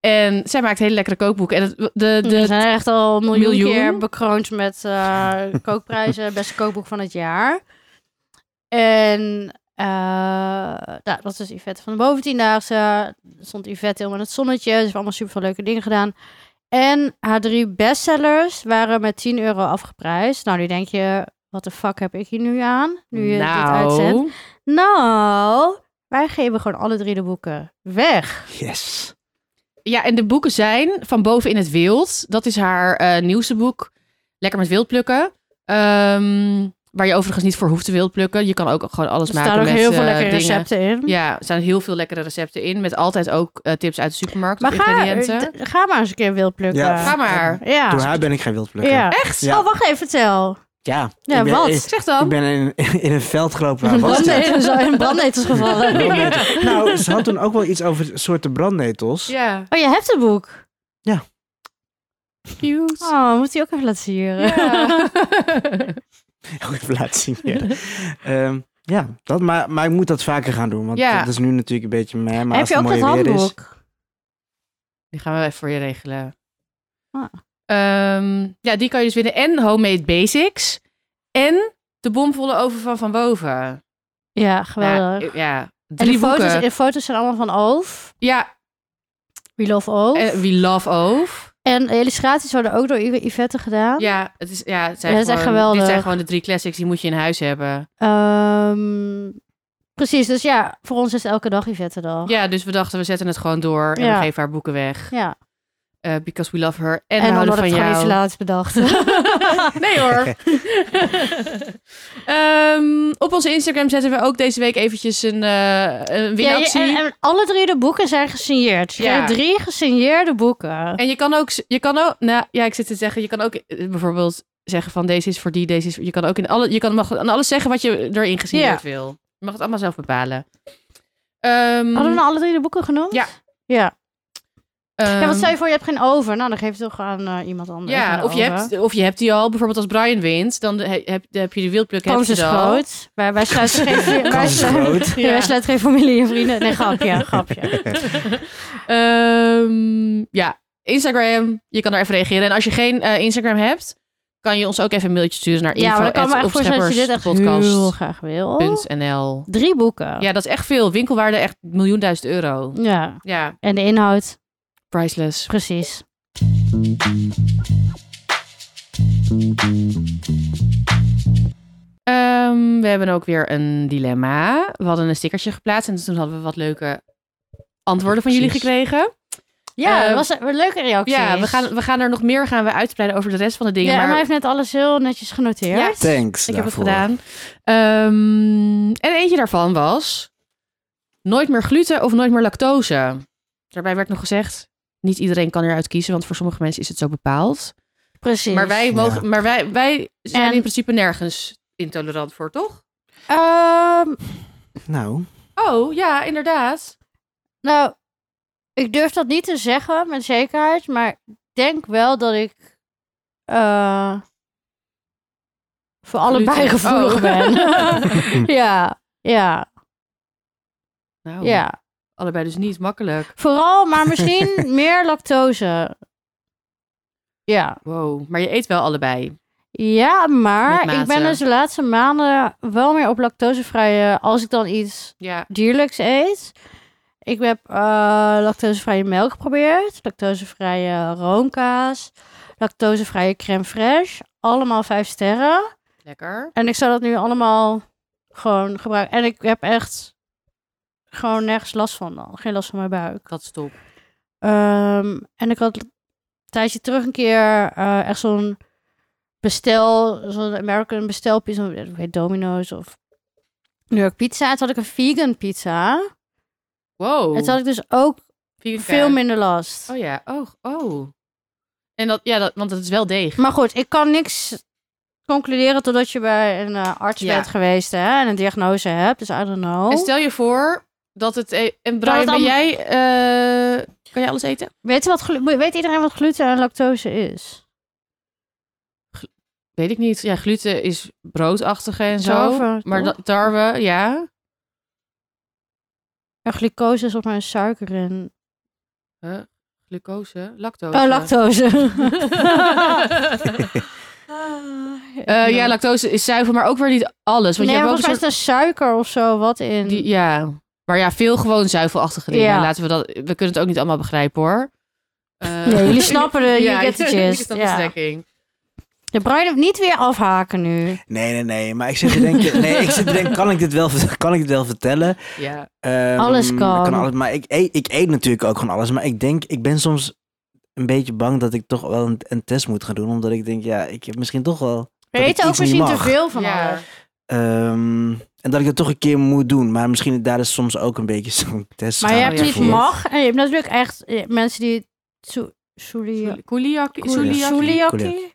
Speaker 2: En zij maakt hele lekkere kookboeken. En het, de, de,
Speaker 1: We zijn er echt al een miljoen,
Speaker 2: Miljoen.
Speaker 1: keer bekroond met eh, kookprijzen. <laughs> Beste kookboek van het jaar. En eh, nou, dat is Yvette van de Boventiendaagse. Stond Yvette helemaal in het zonnetje. Ze heeft allemaal super veel leuke dingen gedaan. En haar drie bestsellers waren met 10 euro afgeprijs. Nou, nu denk je, wat de fuck heb ik hier nu aan? Nu je dit uitzendt.
Speaker 2: nou,
Speaker 1: Nou, wij geven gewoon alle drie de boeken weg.
Speaker 3: Yes.
Speaker 2: ja, en de boeken zijn Van Boven in het Wild. Dat is haar eh, nieuwste boek. Lekker met wild plukken. Ehm, waar je overigens niet voor hoeft te wild plukken. Je kan ook gewoon alles
Speaker 1: Er
Speaker 2: maken
Speaker 1: staan ook
Speaker 2: met
Speaker 1: heel veel
Speaker 2: eh,
Speaker 1: lekkere
Speaker 2: dingen.
Speaker 1: recepten in.
Speaker 2: Ja, er staan heel veel lekkere recepten in. Met altijd ook eh, tips uit de supermarkt.
Speaker 1: Maar
Speaker 2: of
Speaker 1: ga, eh,
Speaker 2: ingrediënten.
Speaker 1: d- ga maar eens een keer wild plukken.
Speaker 3: Ja.
Speaker 2: Ga maar.
Speaker 1: Ja.
Speaker 3: Door haar ben ik geen wildplukker.
Speaker 1: Ja.
Speaker 2: Echt?
Speaker 3: Ja.
Speaker 1: Oh, wacht even, vertel.
Speaker 3: Ja.
Speaker 1: Ja,
Speaker 3: ik ben,
Speaker 1: wat?
Speaker 3: Ik,
Speaker 2: Zeg dan.
Speaker 3: ik ben in, in een veld
Speaker 1: <laughs>
Speaker 3: gelopen. Waar was het?
Speaker 1: Brandnetels, in brandnetels
Speaker 3: <laughs>
Speaker 1: gevallen.
Speaker 3: Brandnetel. Nou, ze had toen ook wel iets over soorten brandnetels. <laughs>
Speaker 2: Ja.
Speaker 1: Oh, je hebt het boek.
Speaker 2: Cute.
Speaker 1: Oh, moet hij ook even laten zien. <laughs>
Speaker 3: Ook even laten zien hier. Ehm, ja, dat, maar, maar ik moet dat vaker gaan doen. Want
Speaker 2: Ja.
Speaker 3: dat is nu natuurlijk een beetje mij. Maar
Speaker 1: Heb
Speaker 3: als
Speaker 1: je
Speaker 3: het
Speaker 1: ook dat
Speaker 3: mooie weer is,
Speaker 1: handboek?
Speaker 2: <laughs> Die gaan we even voor je regelen.
Speaker 1: Ah.
Speaker 2: Ehm, ja, die kan je dus winnen. En Homemade Basics. En de bomvolle oven van Van Boven.
Speaker 1: Ja, geweldig.
Speaker 2: Nou, ja,
Speaker 1: en
Speaker 2: drie
Speaker 1: die
Speaker 2: boeken.
Speaker 1: foto's, de foto's zijn allemaal van Oof.
Speaker 2: Ja,
Speaker 1: We love Oof.
Speaker 2: eh,
Speaker 1: En,
Speaker 2: We Love Oof.
Speaker 1: de illustraties worden ook door I- Yvette gedaan.
Speaker 2: Ja, het is, ja, het zijn
Speaker 1: Ja,
Speaker 2: gewoon,
Speaker 1: het is echt geweldig.
Speaker 2: Dit zijn gewoon de drie classics, die moet je in huis hebben.
Speaker 1: Ehm, Precies, dus ja, voor ons is elke dag Yvette dag.
Speaker 2: Ja, dus we dachten, we zetten het gewoon door en
Speaker 1: Ja.
Speaker 2: we geven haar boeken weg.
Speaker 1: Ja.
Speaker 2: Eh, because we love her
Speaker 1: En,
Speaker 2: en, we
Speaker 1: dan
Speaker 2: houden
Speaker 1: hadden we het
Speaker 2: van jou.
Speaker 1: gewoon iets laatst bedacht.
Speaker 2: <laughs> nee hoor. <laughs> Ehm, op onze Instagram zetten we ook deze week eventjes een, eh een
Speaker 1: Ja,
Speaker 2: winactie.
Speaker 1: en,
Speaker 2: en,
Speaker 1: en alle drie de boeken zijn gesigneerd. Je
Speaker 2: Ja. Ehm,
Speaker 1: krijgt drie gesigneerde boeken.
Speaker 2: je kan ook, je kan ook, nou ja, ik zit te zeggen, je kan ook eh, bijvoorbeeld zeggen van deze is voor die, deze is voor, je kan ook in alle, je kan mag aan alles zeggen wat je erin gezien
Speaker 1: Ja.
Speaker 2: wil. Je mag het allemaal zelf bepalen.
Speaker 1: Hadden
Speaker 2: Ehm,
Speaker 1: we nou alle drie de boeken genoemd?
Speaker 2: Ja.
Speaker 1: Ja. ja,
Speaker 2: ehm,
Speaker 1: wat stel je voor, je hebt geen over. Nou, dan geef je toch aan eh, iemand anders.
Speaker 2: ja,
Speaker 1: een
Speaker 2: of je,
Speaker 1: over.
Speaker 2: hebt, of je hebt die al, bijvoorbeeld als Brian wint, dan he- heb, dan heb je de wildpluk. heb
Speaker 1: Kans
Speaker 2: je
Speaker 1: is
Speaker 2: ze al.
Speaker 1: groot. Wij, wij sluiten
Speaker 2: <laughs>
Speaker 1: geen... wij,
Speaker 3: Kans is
Speaker 1: sluiten,
Speaker 3: groot.
Speaker 1: <laughs> ja. wij sluiten geen familie en vrienden. Nee, grapje,
Speaker 2: <laughs>
Speaker 1: ja, grapje.
Speaker 2: Ehm, ja, Instagram. Je kan daar even reageren. En als je geen eh, Instagram hebt, kan je ons ook even een mailtje sturen naar
Speaker 1: Ja, maar dan kan me echt voorstellen dat je dit echt heel graag wil.
Speaker 2: info.opschepperspodcast.nl
Speaker 1: Drie boeken.
Speaker 2: Ja, dat is echt veel. Winkelwaarde echt miljoen duizend euro.
Speaker 1: ja.
Speaker 2: Ja,
Speaker 1: En de inhoud,
Speaker 2: priceless.
Speaker 1: precies.
Speaker 2: Ehm, we hebben ook weer een dilemma. We hadden een stickertje geplaatst en toen hadden we wat leuke antwoorden van jullie
Speaker 3: Precies.
Speaker 2: gekregen.
Speaker 1: Ja,
Speaker 2: Eh,
Speaker 1: dat was een, een leuke reactie.
Speaker 2: Ja, we gaan, we gaan er nog meer gaan we uitbreiden over de rest van de dingen.
Speaker 1: Ja, en
Speaker 2: maar
Speaker 1: hij heeft net alles heel netjes genoteerd.
Speaker 2: Ja.
Speaker 3: Thanks
Speaker 2: Ik heb het
Speaker 3: daarvoor.
Speaker 2: gedaan. Ehm, en eentje daarvan was nooit meer gluten of nooit meer lactose. Daarbij werd nog gezegd, niet iedereen kan eruit kiezen, want voor sommige mensen is het zo bepaald.
Speaker 1: Precies.
Speaker 2: Maar wij, mogen, maar wij, wij zijn
Speaker 1: En-
Speaker 2: in principe nergens intolerant voor, toch?
Speaker 1: Ehm,
Speaker 3: Nou,
Speaker 2: Oh, ja, inderdaad.
Speaker 1: nou, ik durf dat niet te zeggen met zekerheid, maar ik denk wel dat ik eh, voor allebei
Speaker 2: Gluten.
Speaker 1: gevoelig <laughs>
Speaker 2: Oh.
Speaker 1: ben. ja, ja,
Speaker 2: <laughs> nou,
Speaker 1: ja.
Speaker 2: allebei dus niet makkelijk.
Speaker 1: Vooral, maar <laughs> misschien meer lactose. Ja.
Speaker 2: Wow, maar je eet wel allebei.
Speaker 1: Ja, maar
Speaker 2: Met
Speaker 1: ik ben
Speaker 2: mate.
Speaker 1: dus de laatste maanden wel meer op lactosevrije als ik dan iets
Speaker 2: Ja.
Speaker 1: dierlijks eet. Ik heb eh, lactosevrije melk geprobeerd, lactosevrije roomkaas, lactosevrije crème fraîche, allemaal vijf sterren.
Speaker 2: Lekker.
Speaker 1: En ik zou dat nu allemaal gewoon gebruiken. En ik heb echt gewoon nergens last van dan, geen last van mijn buik.
Speaker 2: Dat is top.
Speaker 1: Ehm, en ik had een tijdje terug een keer eh, echt zo'n bestel, zo'n American bestelpizza, eh, hoe heet Domino's of New York Pizza. Toen had ik een vegan pizza.
Speaker 2: Wow.
Speaker 1: En toen had ik dus ook
Speaker 2: Vegan
Speaker 1: veel
Speaker 2: kaas.
Speaker 1: minder last.
Speaker 2: Oh ja, oh, oh. En dat, ja, dat, want het is wel deeg.
Speaker 1: Maar goed, ik kan niks concluderen totdat je bij een eh, arts
Speaker 2: Ja.
Speaker 1: bent geweest hè, en een diagnose hebt. Dus I don't know.
Speaker 2: En stel je voor dat het... e- En Brian,
Speaker 1: het
Speaker 2: ben
Speaker 1: allemaal- jij,
Speaker 2: jij... eh, kan jij alles eten?
Speaker 1: Weet, je wat glu- weet iedereen wat gluten en lactose is?
Speaker 2: Weet ik niet. Ja, gluten is broodachtige en
Speaker 1: Tarwe,
Speaker 2: zo. Maar
Speaker 1: toch?
Speaker 2: da- tarwe, ja.
Speaker 1: En glucose is op mijn suiker en...
Speaker 2: Huh? Glucose, lactose.
Speaker 1: Oh, <laughs> lactose.
Speaker 2: <laughs> Eh, ja, lactose is zuiver, maar ook weer niet alles. Want
Speaker 1: nee,
Speaker 2: je hebt ook
Speaker 1: volgens
Speaker 2: een
Speaker 1: mij
Speaker 2: soort...
Speaker 1: is er suiker of zo wat in.
Speaker 2: die- ja. Maar ja, veel gewoon zuivelachtige dingen.
Speaker 1: Ja.
Speaker 2: Laten we dat... We kunnen het ook niet allemaal begrijpen, hoor. Eh,
Speaker 1: Nee, jullie snappen
Speaker 2: <laughs>
Speaker 1: de- you get the
Speaker 2: jullie
Speaker 1: gist,
Speaker 2: snappen de
Speaker 1: ja.
Speaker 2: strekking.
Speaker 1: De bruin heeft niet weer afhaken nu.
Speaker 3: nee, nee, nee. Maar ik zit te denken, nee, ik zit te denken kan, ik dit wel, kan ik dit wel vertellen?
Speaker 2: Ja.
Speaker 3: Ehm,
Speaker 1: Alles kan.
Speaker 3: alles, maar ik eet, ik eet natuurlijk ook gewoon alles. Maar ik denk, ik ben soms een beetje bang dat ik toch wel een, een test moet gaan doen. Omdat ik denk, ja, ik heb misschien toch wel...
Speaker 1: We
Speaker 3: Dat ik
Speaker 1: weten ook
Speaker 3: iets niet
Speaker 1: misschien te
Speaker 3: mag.
Speaker 1: veel van
Speaker 2: Ja.
Speaker 1: alles.
Speaker 3: ehm, en dat ik het toch een keer moet doen. Maar misschien daar is soms ook een beetje zo'n <laughs> test.
Speaker 1: Maar je
Speaker 2: gaan
Speaker 1: hebt
Speaker 2: we
Speaker 1: niet
Speaker 2: ervoor.
Speaker 1: mag. En je hebt natuurlijk echt eh, mensen die... Su- Sulia-
Speaker 2: Kuliak. Kuliak.
Speaker 3: Kuliak.
Speaker 1: Suliaki.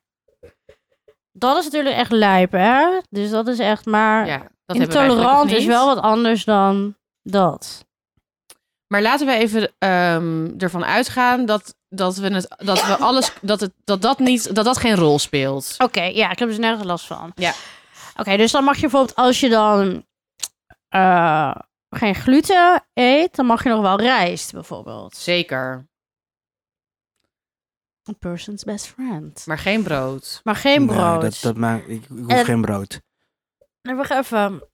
Speaker 1: Dat is natuurlijk echt lijp, hè? Dus dat is echt maar...
Speaker 2: Ja, dat hebben wij gelukkig
Speaker 1: intolerant is
Speaker 2: niet.
Speaker 1: wel wat anders dan dat.
Speaker 2: Maar laten we even ehm, ervan uitgaan dat, dat we het dat we alles dat het dat dat niet dat dat geen rol speelt.
Speaker 1: Oké, ja, ik heb dus nergens last van.
Speaker 2: Ja.
Speaker 1: Oké, dus dan mag je bijvoorbeeld als je dan eh, geen gluten eet, dan mag je nog wel rijst bijvoorbeeld.
Speaker 2: Zeker,
Speaker 1: A person's best friend.
Speaker 2: maar geen brood.
Speaker 1: Maar geen
Speaker 3: Nee,
Speaker 1: brood.
Speaker 3: dat, dat maakt, ik, ik hoef
Speaker 1: En-
Speaker 3: geen brood.
Speaker 1: Nee, wacht even.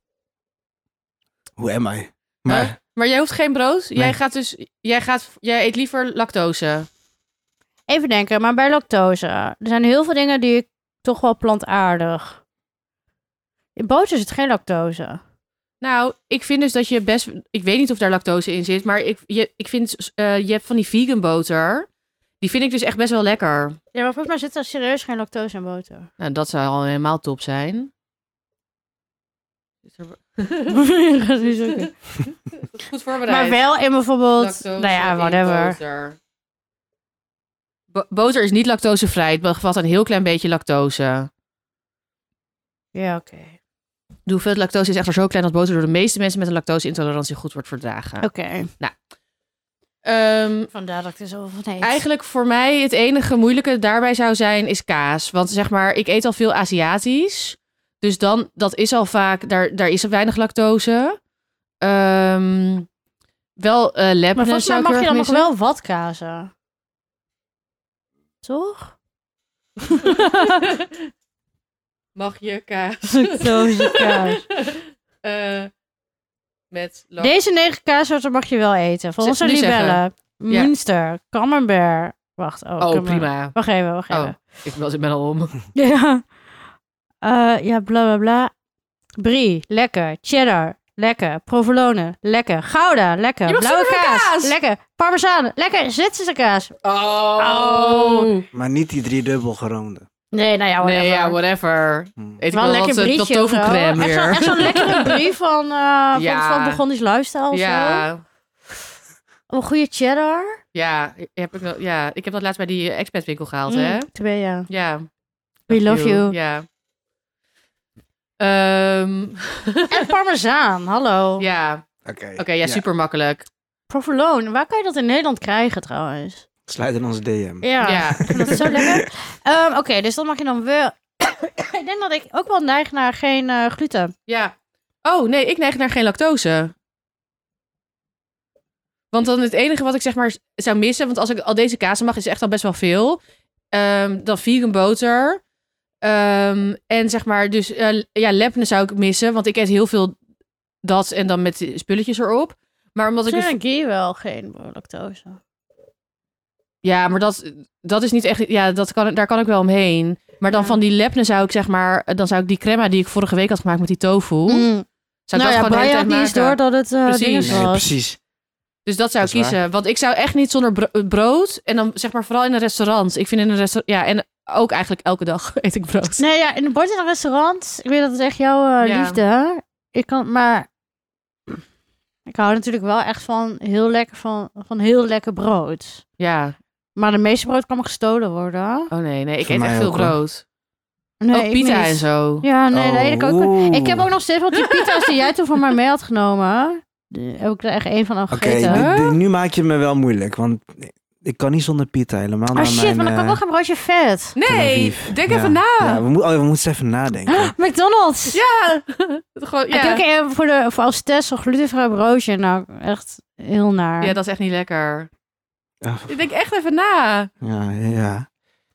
Speaker 3: Hoe am I? Maar
Speaker 2: Huh? Maar jij hoeft geen brood. Jij
Speaker 3: Nee.
Speaker 2: gaat dus jij gaat jij eet liever lactose.
Speaker 1: Even denken, maar bij lactose. Er zijn heel veel dingen die ik toch wel plantaardig. In boter zit geen lactose.
Speaker 2: Nou, ik vind dus dat je best... Ik weet niet of daar lactose in zit, maar ik, je, ik vind... eh, je hebt van die vegan boter. Die vind ik dus echt best wel lekker.
Speaker 1: Ja, maar volgens mij zit er serieus geen lactose in
Speaker 2: <laughs>
Speaker 1: boter. <laughs>
Speaker 2: Nou, dat zou al helemaal top zijn.
Speaker 1: Dat is
Speaker 2: <laughs>
Speaker 1: ook-
Speaker 2: Goed voorbereid.
Speaker 1: maar wel in bijvoorbeeld, nou ja, whatever.
Speaker 2: Boter. boter is niet lactosevrij. Het bevat een heel klein beetje lactose.
Speaker 1: Ja, oké.
Speaker 2: De hoeveelheid lactose is echter zo klein dat boter door de meeste mensen met een lactose-intolerantie goed wordt verdragen.
Speaker 1: Oké.
Speaker 2: Ehm,
Speaker 1: Vandaar dat ik er zo van eet.
Speaker 2: Eigenlijk voor mij het enige moeilijke daarbij zou zijn is kaas. Want zeg maar, ik eet al veel Aziatisch. Dus dan, dat is al vaak, daar, daar is er weinig lactose. Ehm, wel eh lepne
Speaker 1: Maar volgens mij
Speaker 2: zou ik
Speaker 1: mag je
Speaker 2: heel
Speaker 1: dan
Speaker 2: erg
Speaker 1: nog wel
Speaker 2: missen.
Speaker 1: wat kazen.
Speaker 2: <laughs>
Speaker 1: Toch?
Speaker 2: Mag je kaas? <laughs>
Speaker 1: Lactose kaas.
Speaker 2: Eh, met lac-
Speaker 1: Deze negen kaassoorten mag je wel eten. Volgens
Speaker 2: Zeg-
Speaker 1: de
Speaker 2: nu
Speaker 1: libellen.
Speaker 2: Ja.
Speaker 1: Münster, camembert. Wacht, oh,
Speaker 2: Oh,
Speaker 1: camembert.
Speaker 2: prima.
Speaker 1: Wacht even, wacht
Speaker 2: Oh,
Speaker 1: even.
Speaker 2: ik was ik ben al om.
Speaker 1: Ja. <laughs> Eh, ja, bla bla bla. Brie, lekker. Cheddar, lekker. Provolone, lekker. Gouda, lekker.
Speaker 2: Je mag
Speaker 1: Blauwe
Speaker 2: zoveel
Speaker 1: kaas,
Speaker 2: kaas!
Speaker 1: lekker. Parmezaan, lekker. Zwitserse kaas.
Speaker 2: Oh.
Speaker 3: Maar niet die drie dubbel geroomde.
Speaker 1: Nee, nou ja, whatever.
Speaker 2: Nee, ja, whatever.
Speaker 3: Hm.
Speaker 2: Eet ik
Speaker 1: Wel
Speaker 2: wel
Speaker 1: een lekker
Speaker 2: dat, eh, dat
Speaker 1: briefje of zo.
Speaker 2: tofucrème
Speaker 1: Echt zo'n-
Speaker 2: weer.
Speaker 1: Echt zo'n
Speaker 2: <laughs>
Speaker 1: lekkere brie van, eh
Speaker 2: Ja.
Speaker 1: van, van Begonnisch Lifestyle of zo.
Speaker 2: Ja,
Speaker 1: Een goede cheddar.
Speaker 2: Ja, heb ik, wel- ja, ik heb dat laatst bij die eh, expertwinkel gehaald, hè?
Speaker 1: Mm, Twee, ja.
Speaker 2: Ja.
Speaker 1: We love you.
Speaker 2: Ja. Ehm,
Speaker 1: En parmezaan, hallo.
Speaker 2: ja, oké,
Speaker 3: Oké,
Speaker 2: ja, super makkelijk.
Speaker 1: Provolone, waar kan je dat in Nederland krijgen trouwens?
Speaker 3: Sluit in onze DM.
Speaker 1: Ja,
Speaker 2: Ja.
Speaker 1: ik vind dat zo lekker. Ehm, Oké, dus dan mag je dan wel... <coughs> ik denk dat ik ook wel neig naar geen eh, gluten.
Speaker 2: Ja. Oh, nee, ik neig naar geen lactose. Want dan het enige wat ik zeg maar zou missen, want als ik al deze kazen mag, is echt al best wel veel. Ehm, dan vegan boter. Ehm, en zeg maar, dus eh, ja, lepne zou ik missen, want ik eet heel veel dat en dan met die spulletjes erop. Maar omdat ik dus-
Speaker 1: Misschien ghee wel geen lactose.
Speaker 2: Ja, maar dat, dat is niet echt. Ja, dat kan, daar kan ik wel omheen. Maar dan
Speaker 1: Ja.
Speaker 2: van die lepne zou ik zeg maar. Dan zou ik die crema die ik vorige week had gemaakt met die tofu. Zou ik
Speaker 1: Mm.
Speaker 2: dat
Speaker 1: Nou ja,
Speaker 2: gewoon de hele
Speaker 1: Brian
Speaker 2: tijd
Speaker 1: had niet eens
Speaker 2: maken.
Speaker 1: door dat het eh
Speaker 2: Precies.
Speaker 1: ding
Speaker 3: Nee,
Speaker 1: was.
Speaker 3: precies.
Speaker 2: Dus dat zou ik
Speaker 3: Dat is waar.
Speaker 2: kiezen. Want ik zou echt niet zonder bro- eh, brood. En dan zeg maar vooral in een restaurant. Ik vind in een restaurant. Ja, en ook eigenlijk elke dag <laughs> eet ik brood.
Speaker 1: Nee, ja, in een bord in een restaurant. Ik weet dat het echt jouw eh,
Speaker 2: Ja.
Speaker 1: liefde. hè? Ik kan, maar ik hou natuurlijk wel echt van heel lekker van, van heel lekker brood.
Speaker 2: Ja.
Speaker 1: Maar de meeste brood kan me gestolen worden.
Speaker 2: Oh nee, nee. Ik
Speaker 3: Voor
Speaker 2: eet
Speaker 3: mij
Speaker 2: echt veel
Speaker 3: ook, hoor.
Speaker 2: brood.
Speaker 1: Nee,
Speaker 2: ook
Speaker 1: ik
Speaker 2: Oh, pita
Speaker 1: niet.
Speaker 2: en zo.
Speaker 1: Ja, nee, nee, ik ook.
Speaker 2: Oh.
Speaker 1: wel.
Speaker 3: Oh, Oeh.
Speaker 1: Ik heb ook nog steeds wat
Speaker 2: <laughs>
Speaker 1: die pita's die jij toen van mij mee had genomen. die heb ik er echt één van
Speaker 3: Oké,
Speaker 1: afgegeten.
Speaker 3: dit- dit- nu maak je het me wel moeilijk, want ik kan niet zonder pita helemaal.
Speaker 1: oh
Speaker 3: naar
Speaker 1: shit,
Speaker 3: mijn,
Speaker 1: maar dan kan ik
Speaker 3: eh,
Speaker 1: wel geen broodje vet.
Speaker 3: Tel
Speaker 2: Nee,
Speaker 3: Aviv.
Speaker 2: denk
Speaker 3: Ja.
Speaker 2: even na.
Speaker 3: Ja, we, moet, oh, we moeten eens even nadenken.
Speaker 1: <gasps> McDonald's!
Speaker 2: <laughs> Ja. <laughs> Gewoon,
Speaker 1: Ik heb
Speaker 2: ja.
Speaker 1: ook een- voor, de, voor als test een glutenvrij broodje. Nou, echt heel naar.
Speaker 2: ja, dat is echt niet lekker.
Speaker 3: Ja,
Speaker 2: Ik denk echt even na. <laughs>
Speaker 3: ja, ja.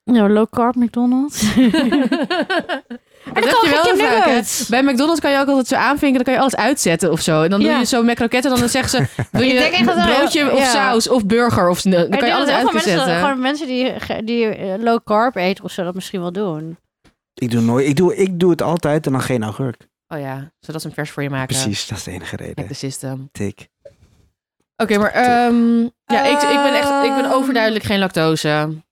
Speaker 1: Nou, low carb McDonald's.
Speaker 2: Maar
Speaker 1: dan
Speaker 2: dat
Speaker 1: kan
Speaker 2: heb je wel
Speaker 1: geen
Speaker 2: heel vaak, hè?
Speaker 1: nuggets.
Speaker 2: <laughs> Bij McDonald's kan je ook altijd zo aanvinken, dan kan je alles uitzetten of zo. En dan doe
Speaker 1: Ja.
Speaker 2: je zo met kroketten, dan <laughs> zeggen ze, wil
Speaker 1: Ik
Speaker 2: je
Speaker 1: denk echt dat-
Speaker 2: broodje of
Speaker 1: ja.
Speaker 2: saus of burger? Of, dan
Speaker 1: Ik
Speaker 2: kan je
Speaker 1: denk
Speaker 2: alles
Speaker 1: dat heel veel mensen,
Speaker 2: uitzetten.
Speaker 1: Gewoon mensen die, ge- die eh, low carb eten of zo dat misschien wel doen.
Speaker 3: Ik doe, nooit, ik, doe, ik doe het altijd en dan geen augurk.
Speaker 2: Oh ja, zodat ze hem vers voor je maken.
Speaker 3: Precies, dat is de enige
Speaker 2: Hack
Speaker 3: reden.
Speaker 1: dus-
Speaker 2: the system.
Speaker 3: Tik.
Speaker 2: Oké, maar ehm, ja, ik, ik, ben echt, ik ben overduidelijk geen lactose.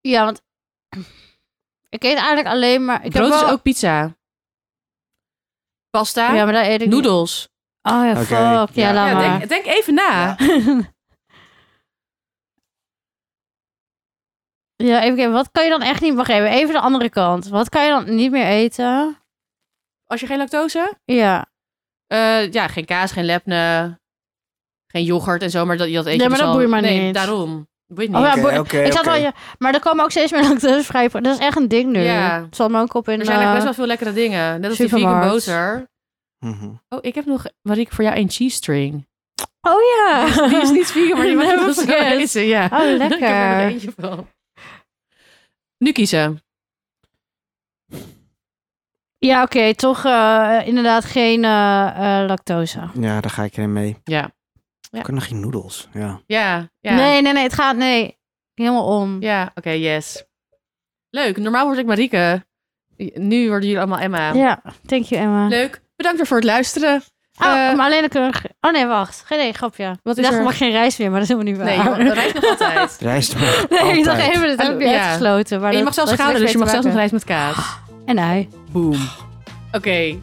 Speaker 1: Ja, want <clears throat> ik eet eigenlijk alleen maar. Ik
Speaker 2: Brood
Speaker 1: heb
Speaker 2: is
Speaker 1: wel-
Speaker 2: ook pizza. Pasta,
Speaker 1: Ja, maar daar eet ik. niet.
Speaker 2: noedels.
Speaker 1: Oh ja,
Speaker 3: Oké,
Speaker 1: fuck. Ja,
Speaker 3: ja.
Speaker 1: laat
Speaker 2: Ja,
Speaker 1: maar.
Speaker 2: denk, denk even na.
Speaker 1: <laughs> Ja, even kijken. Wat kan je dan echt niet meer geven? Even de andere kant. Wat kan je dan niet meer eten?
Speaker 2: Als je geen lactose?
Speaker 1: Ja.
Speaker 2: Eh, ja, geen kaas, geen lepne, geen yoghurt en zo, maar dat, dat eet
Speaker 1: Nee,
Speaker 2: je
Speaker 1: maar
Speaker 2: dus
Speaker 1: dat
Speaker 2: al-
Speaker 1: boeit mij
Speaker 2: nee,
Speaker 1: niet.
Speaker 2: daarom. Boeit niet.
Speaker 1: Oh, ja,
Speaker 3: Oké,
Speaker 1: boe-
Speaker 3: oké,
Speaker 1: ik zat
Speaker 3: oké.
Speaker 1: wel, ja, maar er komen ook steeds meer <laughs> lactosevrij. Dat is echt een ding nu.
Speaker 2: Ja.
Speaker 1: Het zal me ook op in.
Speaker 2: er zijn eigenlijk
Speaker 1: eh,
Speaker 2: best wel veel lekkere dingen. Net als die vegan
Speaker 1: supermarkt.
Speaker 2: boter.
Speaker 3: Mhm.
Speaker 2: Oh, ik heb nog, wat ik voor jou een cheese <laughs> string.
Speaker 1: Oh ja.
Speaker 2: <laughs> Die is niet vegan, maar die mag
Speaker 1: Nee,
Speaker 2: je wel
Speaker 1: dat
Speaker 2: zo
Speaker 1: vergeet.
Speaker 2: eten. <laughs> Ja.
Speaker 1: <laughs> Oh, lekker.
Speaker 2: Ik heb er nog eentje van. Nu kiezen.
Speaker 1: Ja, oké, toch eh, inderdaad geen eh, eh, lactose.
Speaker 3: Ja, daar ga ik erin mee.
Speaker 2: Ja. Ja.
Speaker 3: Ik kan nog geen noedels. Ja.
Speaker 2: Ja. ja.
Speaker 1: Nee, nee, nee, het gaat nee. Helemaal om. Ja,
Speaker 2: Ja, oké, yes. Leuk. Normaal word ik Marieke. Nu worden jullie allemaal Emma.
Speaker 1: thank you Emma.
Speaker 2: Leuk. Bedankt weer voor het luisteren.
Speaker 1: Oh,
Speaker 2: Eh,
Speaker 1: maar alleen dan kunnen we... ge- Oh nee, wacht. Geen nee, grapje.
Speaker 2: Wat
Speaker 1: Ik
Speaker 2: is
Speaker 1: dacht,
Speaker 2: er?
Speaker 1: er mag geen reis meer, maar dat is helemaal niet
Speaker 2: Nee,
Speaker 1: waar.
Speaker 2: joh, dat rijdt nog <laughs> altijd.
Speaker 3: Rijst maar
Speaker 1: <laughs> Nee, ik dacht
Speaker 3: altijd.
Speaker 1: even, dat heb je
Speaker 2: Ja.
Speaker 1: uitgesloten. Maar
Speaker 2: En
Speaker 1: dat-
Speaker 2: je mag zelfs
Speaker 1: dat heeft
Speaker 2: schalen,
Speaker 1: niks
Speaker 2: dus je mag
Speaker 1: mee
Speaker 2: zelfs
Speaker 1: te
Speaker 2: nog rijden met <gasps> kaas.
Speaker 1: maken. En hij.
Speaker 2: Boom. Oké.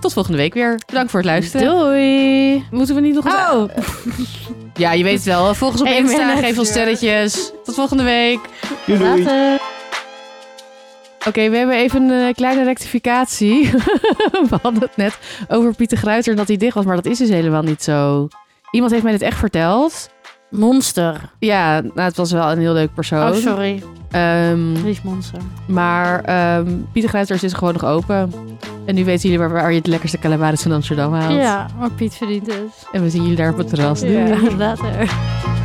Speaker 2: Tot volgende week weer. Bedankt voor het luisteren.
Speaker 1: Doei.
Speaker 2: Moeten we niet nog eens-
Speaker 1: Oh,
Speaker 2: Ja, je weet het wel. Volg ons op
Speaker 1: Eén
Speaker 2: Insta.
Speaker 1: minuut.
Speaker 2: Geef ons sterretjes. Tot volgende week.
Speaker 3: Doei, doei.
Speaker 1: later.
Speaker 2: Oké, we hebben even een eh, kleine rectificatie. <laughs> we hadden het net over Pieter Gruiter en dat hij dicht was, maar dat is dus helemaal niet zo. Iemand heeft mij dit echt verteld.
Speaker 1: Monster.
Speaker 2: Ja, nou, het was wel een heel leuk persoon.
Speaker 1: Oh, sorry.
Speaker 2: Ehm,
Speaker 1: Lief monster.
Speaker 2: maar ehm, Pieter Gruiter is dus gewoon nog open. En nu weten jullie waar, waar je het lekkerste calabaris van Amsterdam haalt.
Speaker 1: Ja, maar Piet verdient het.
Speaker 2: En we zien jullie daar op het terras.
Speaker 1: Ja, later.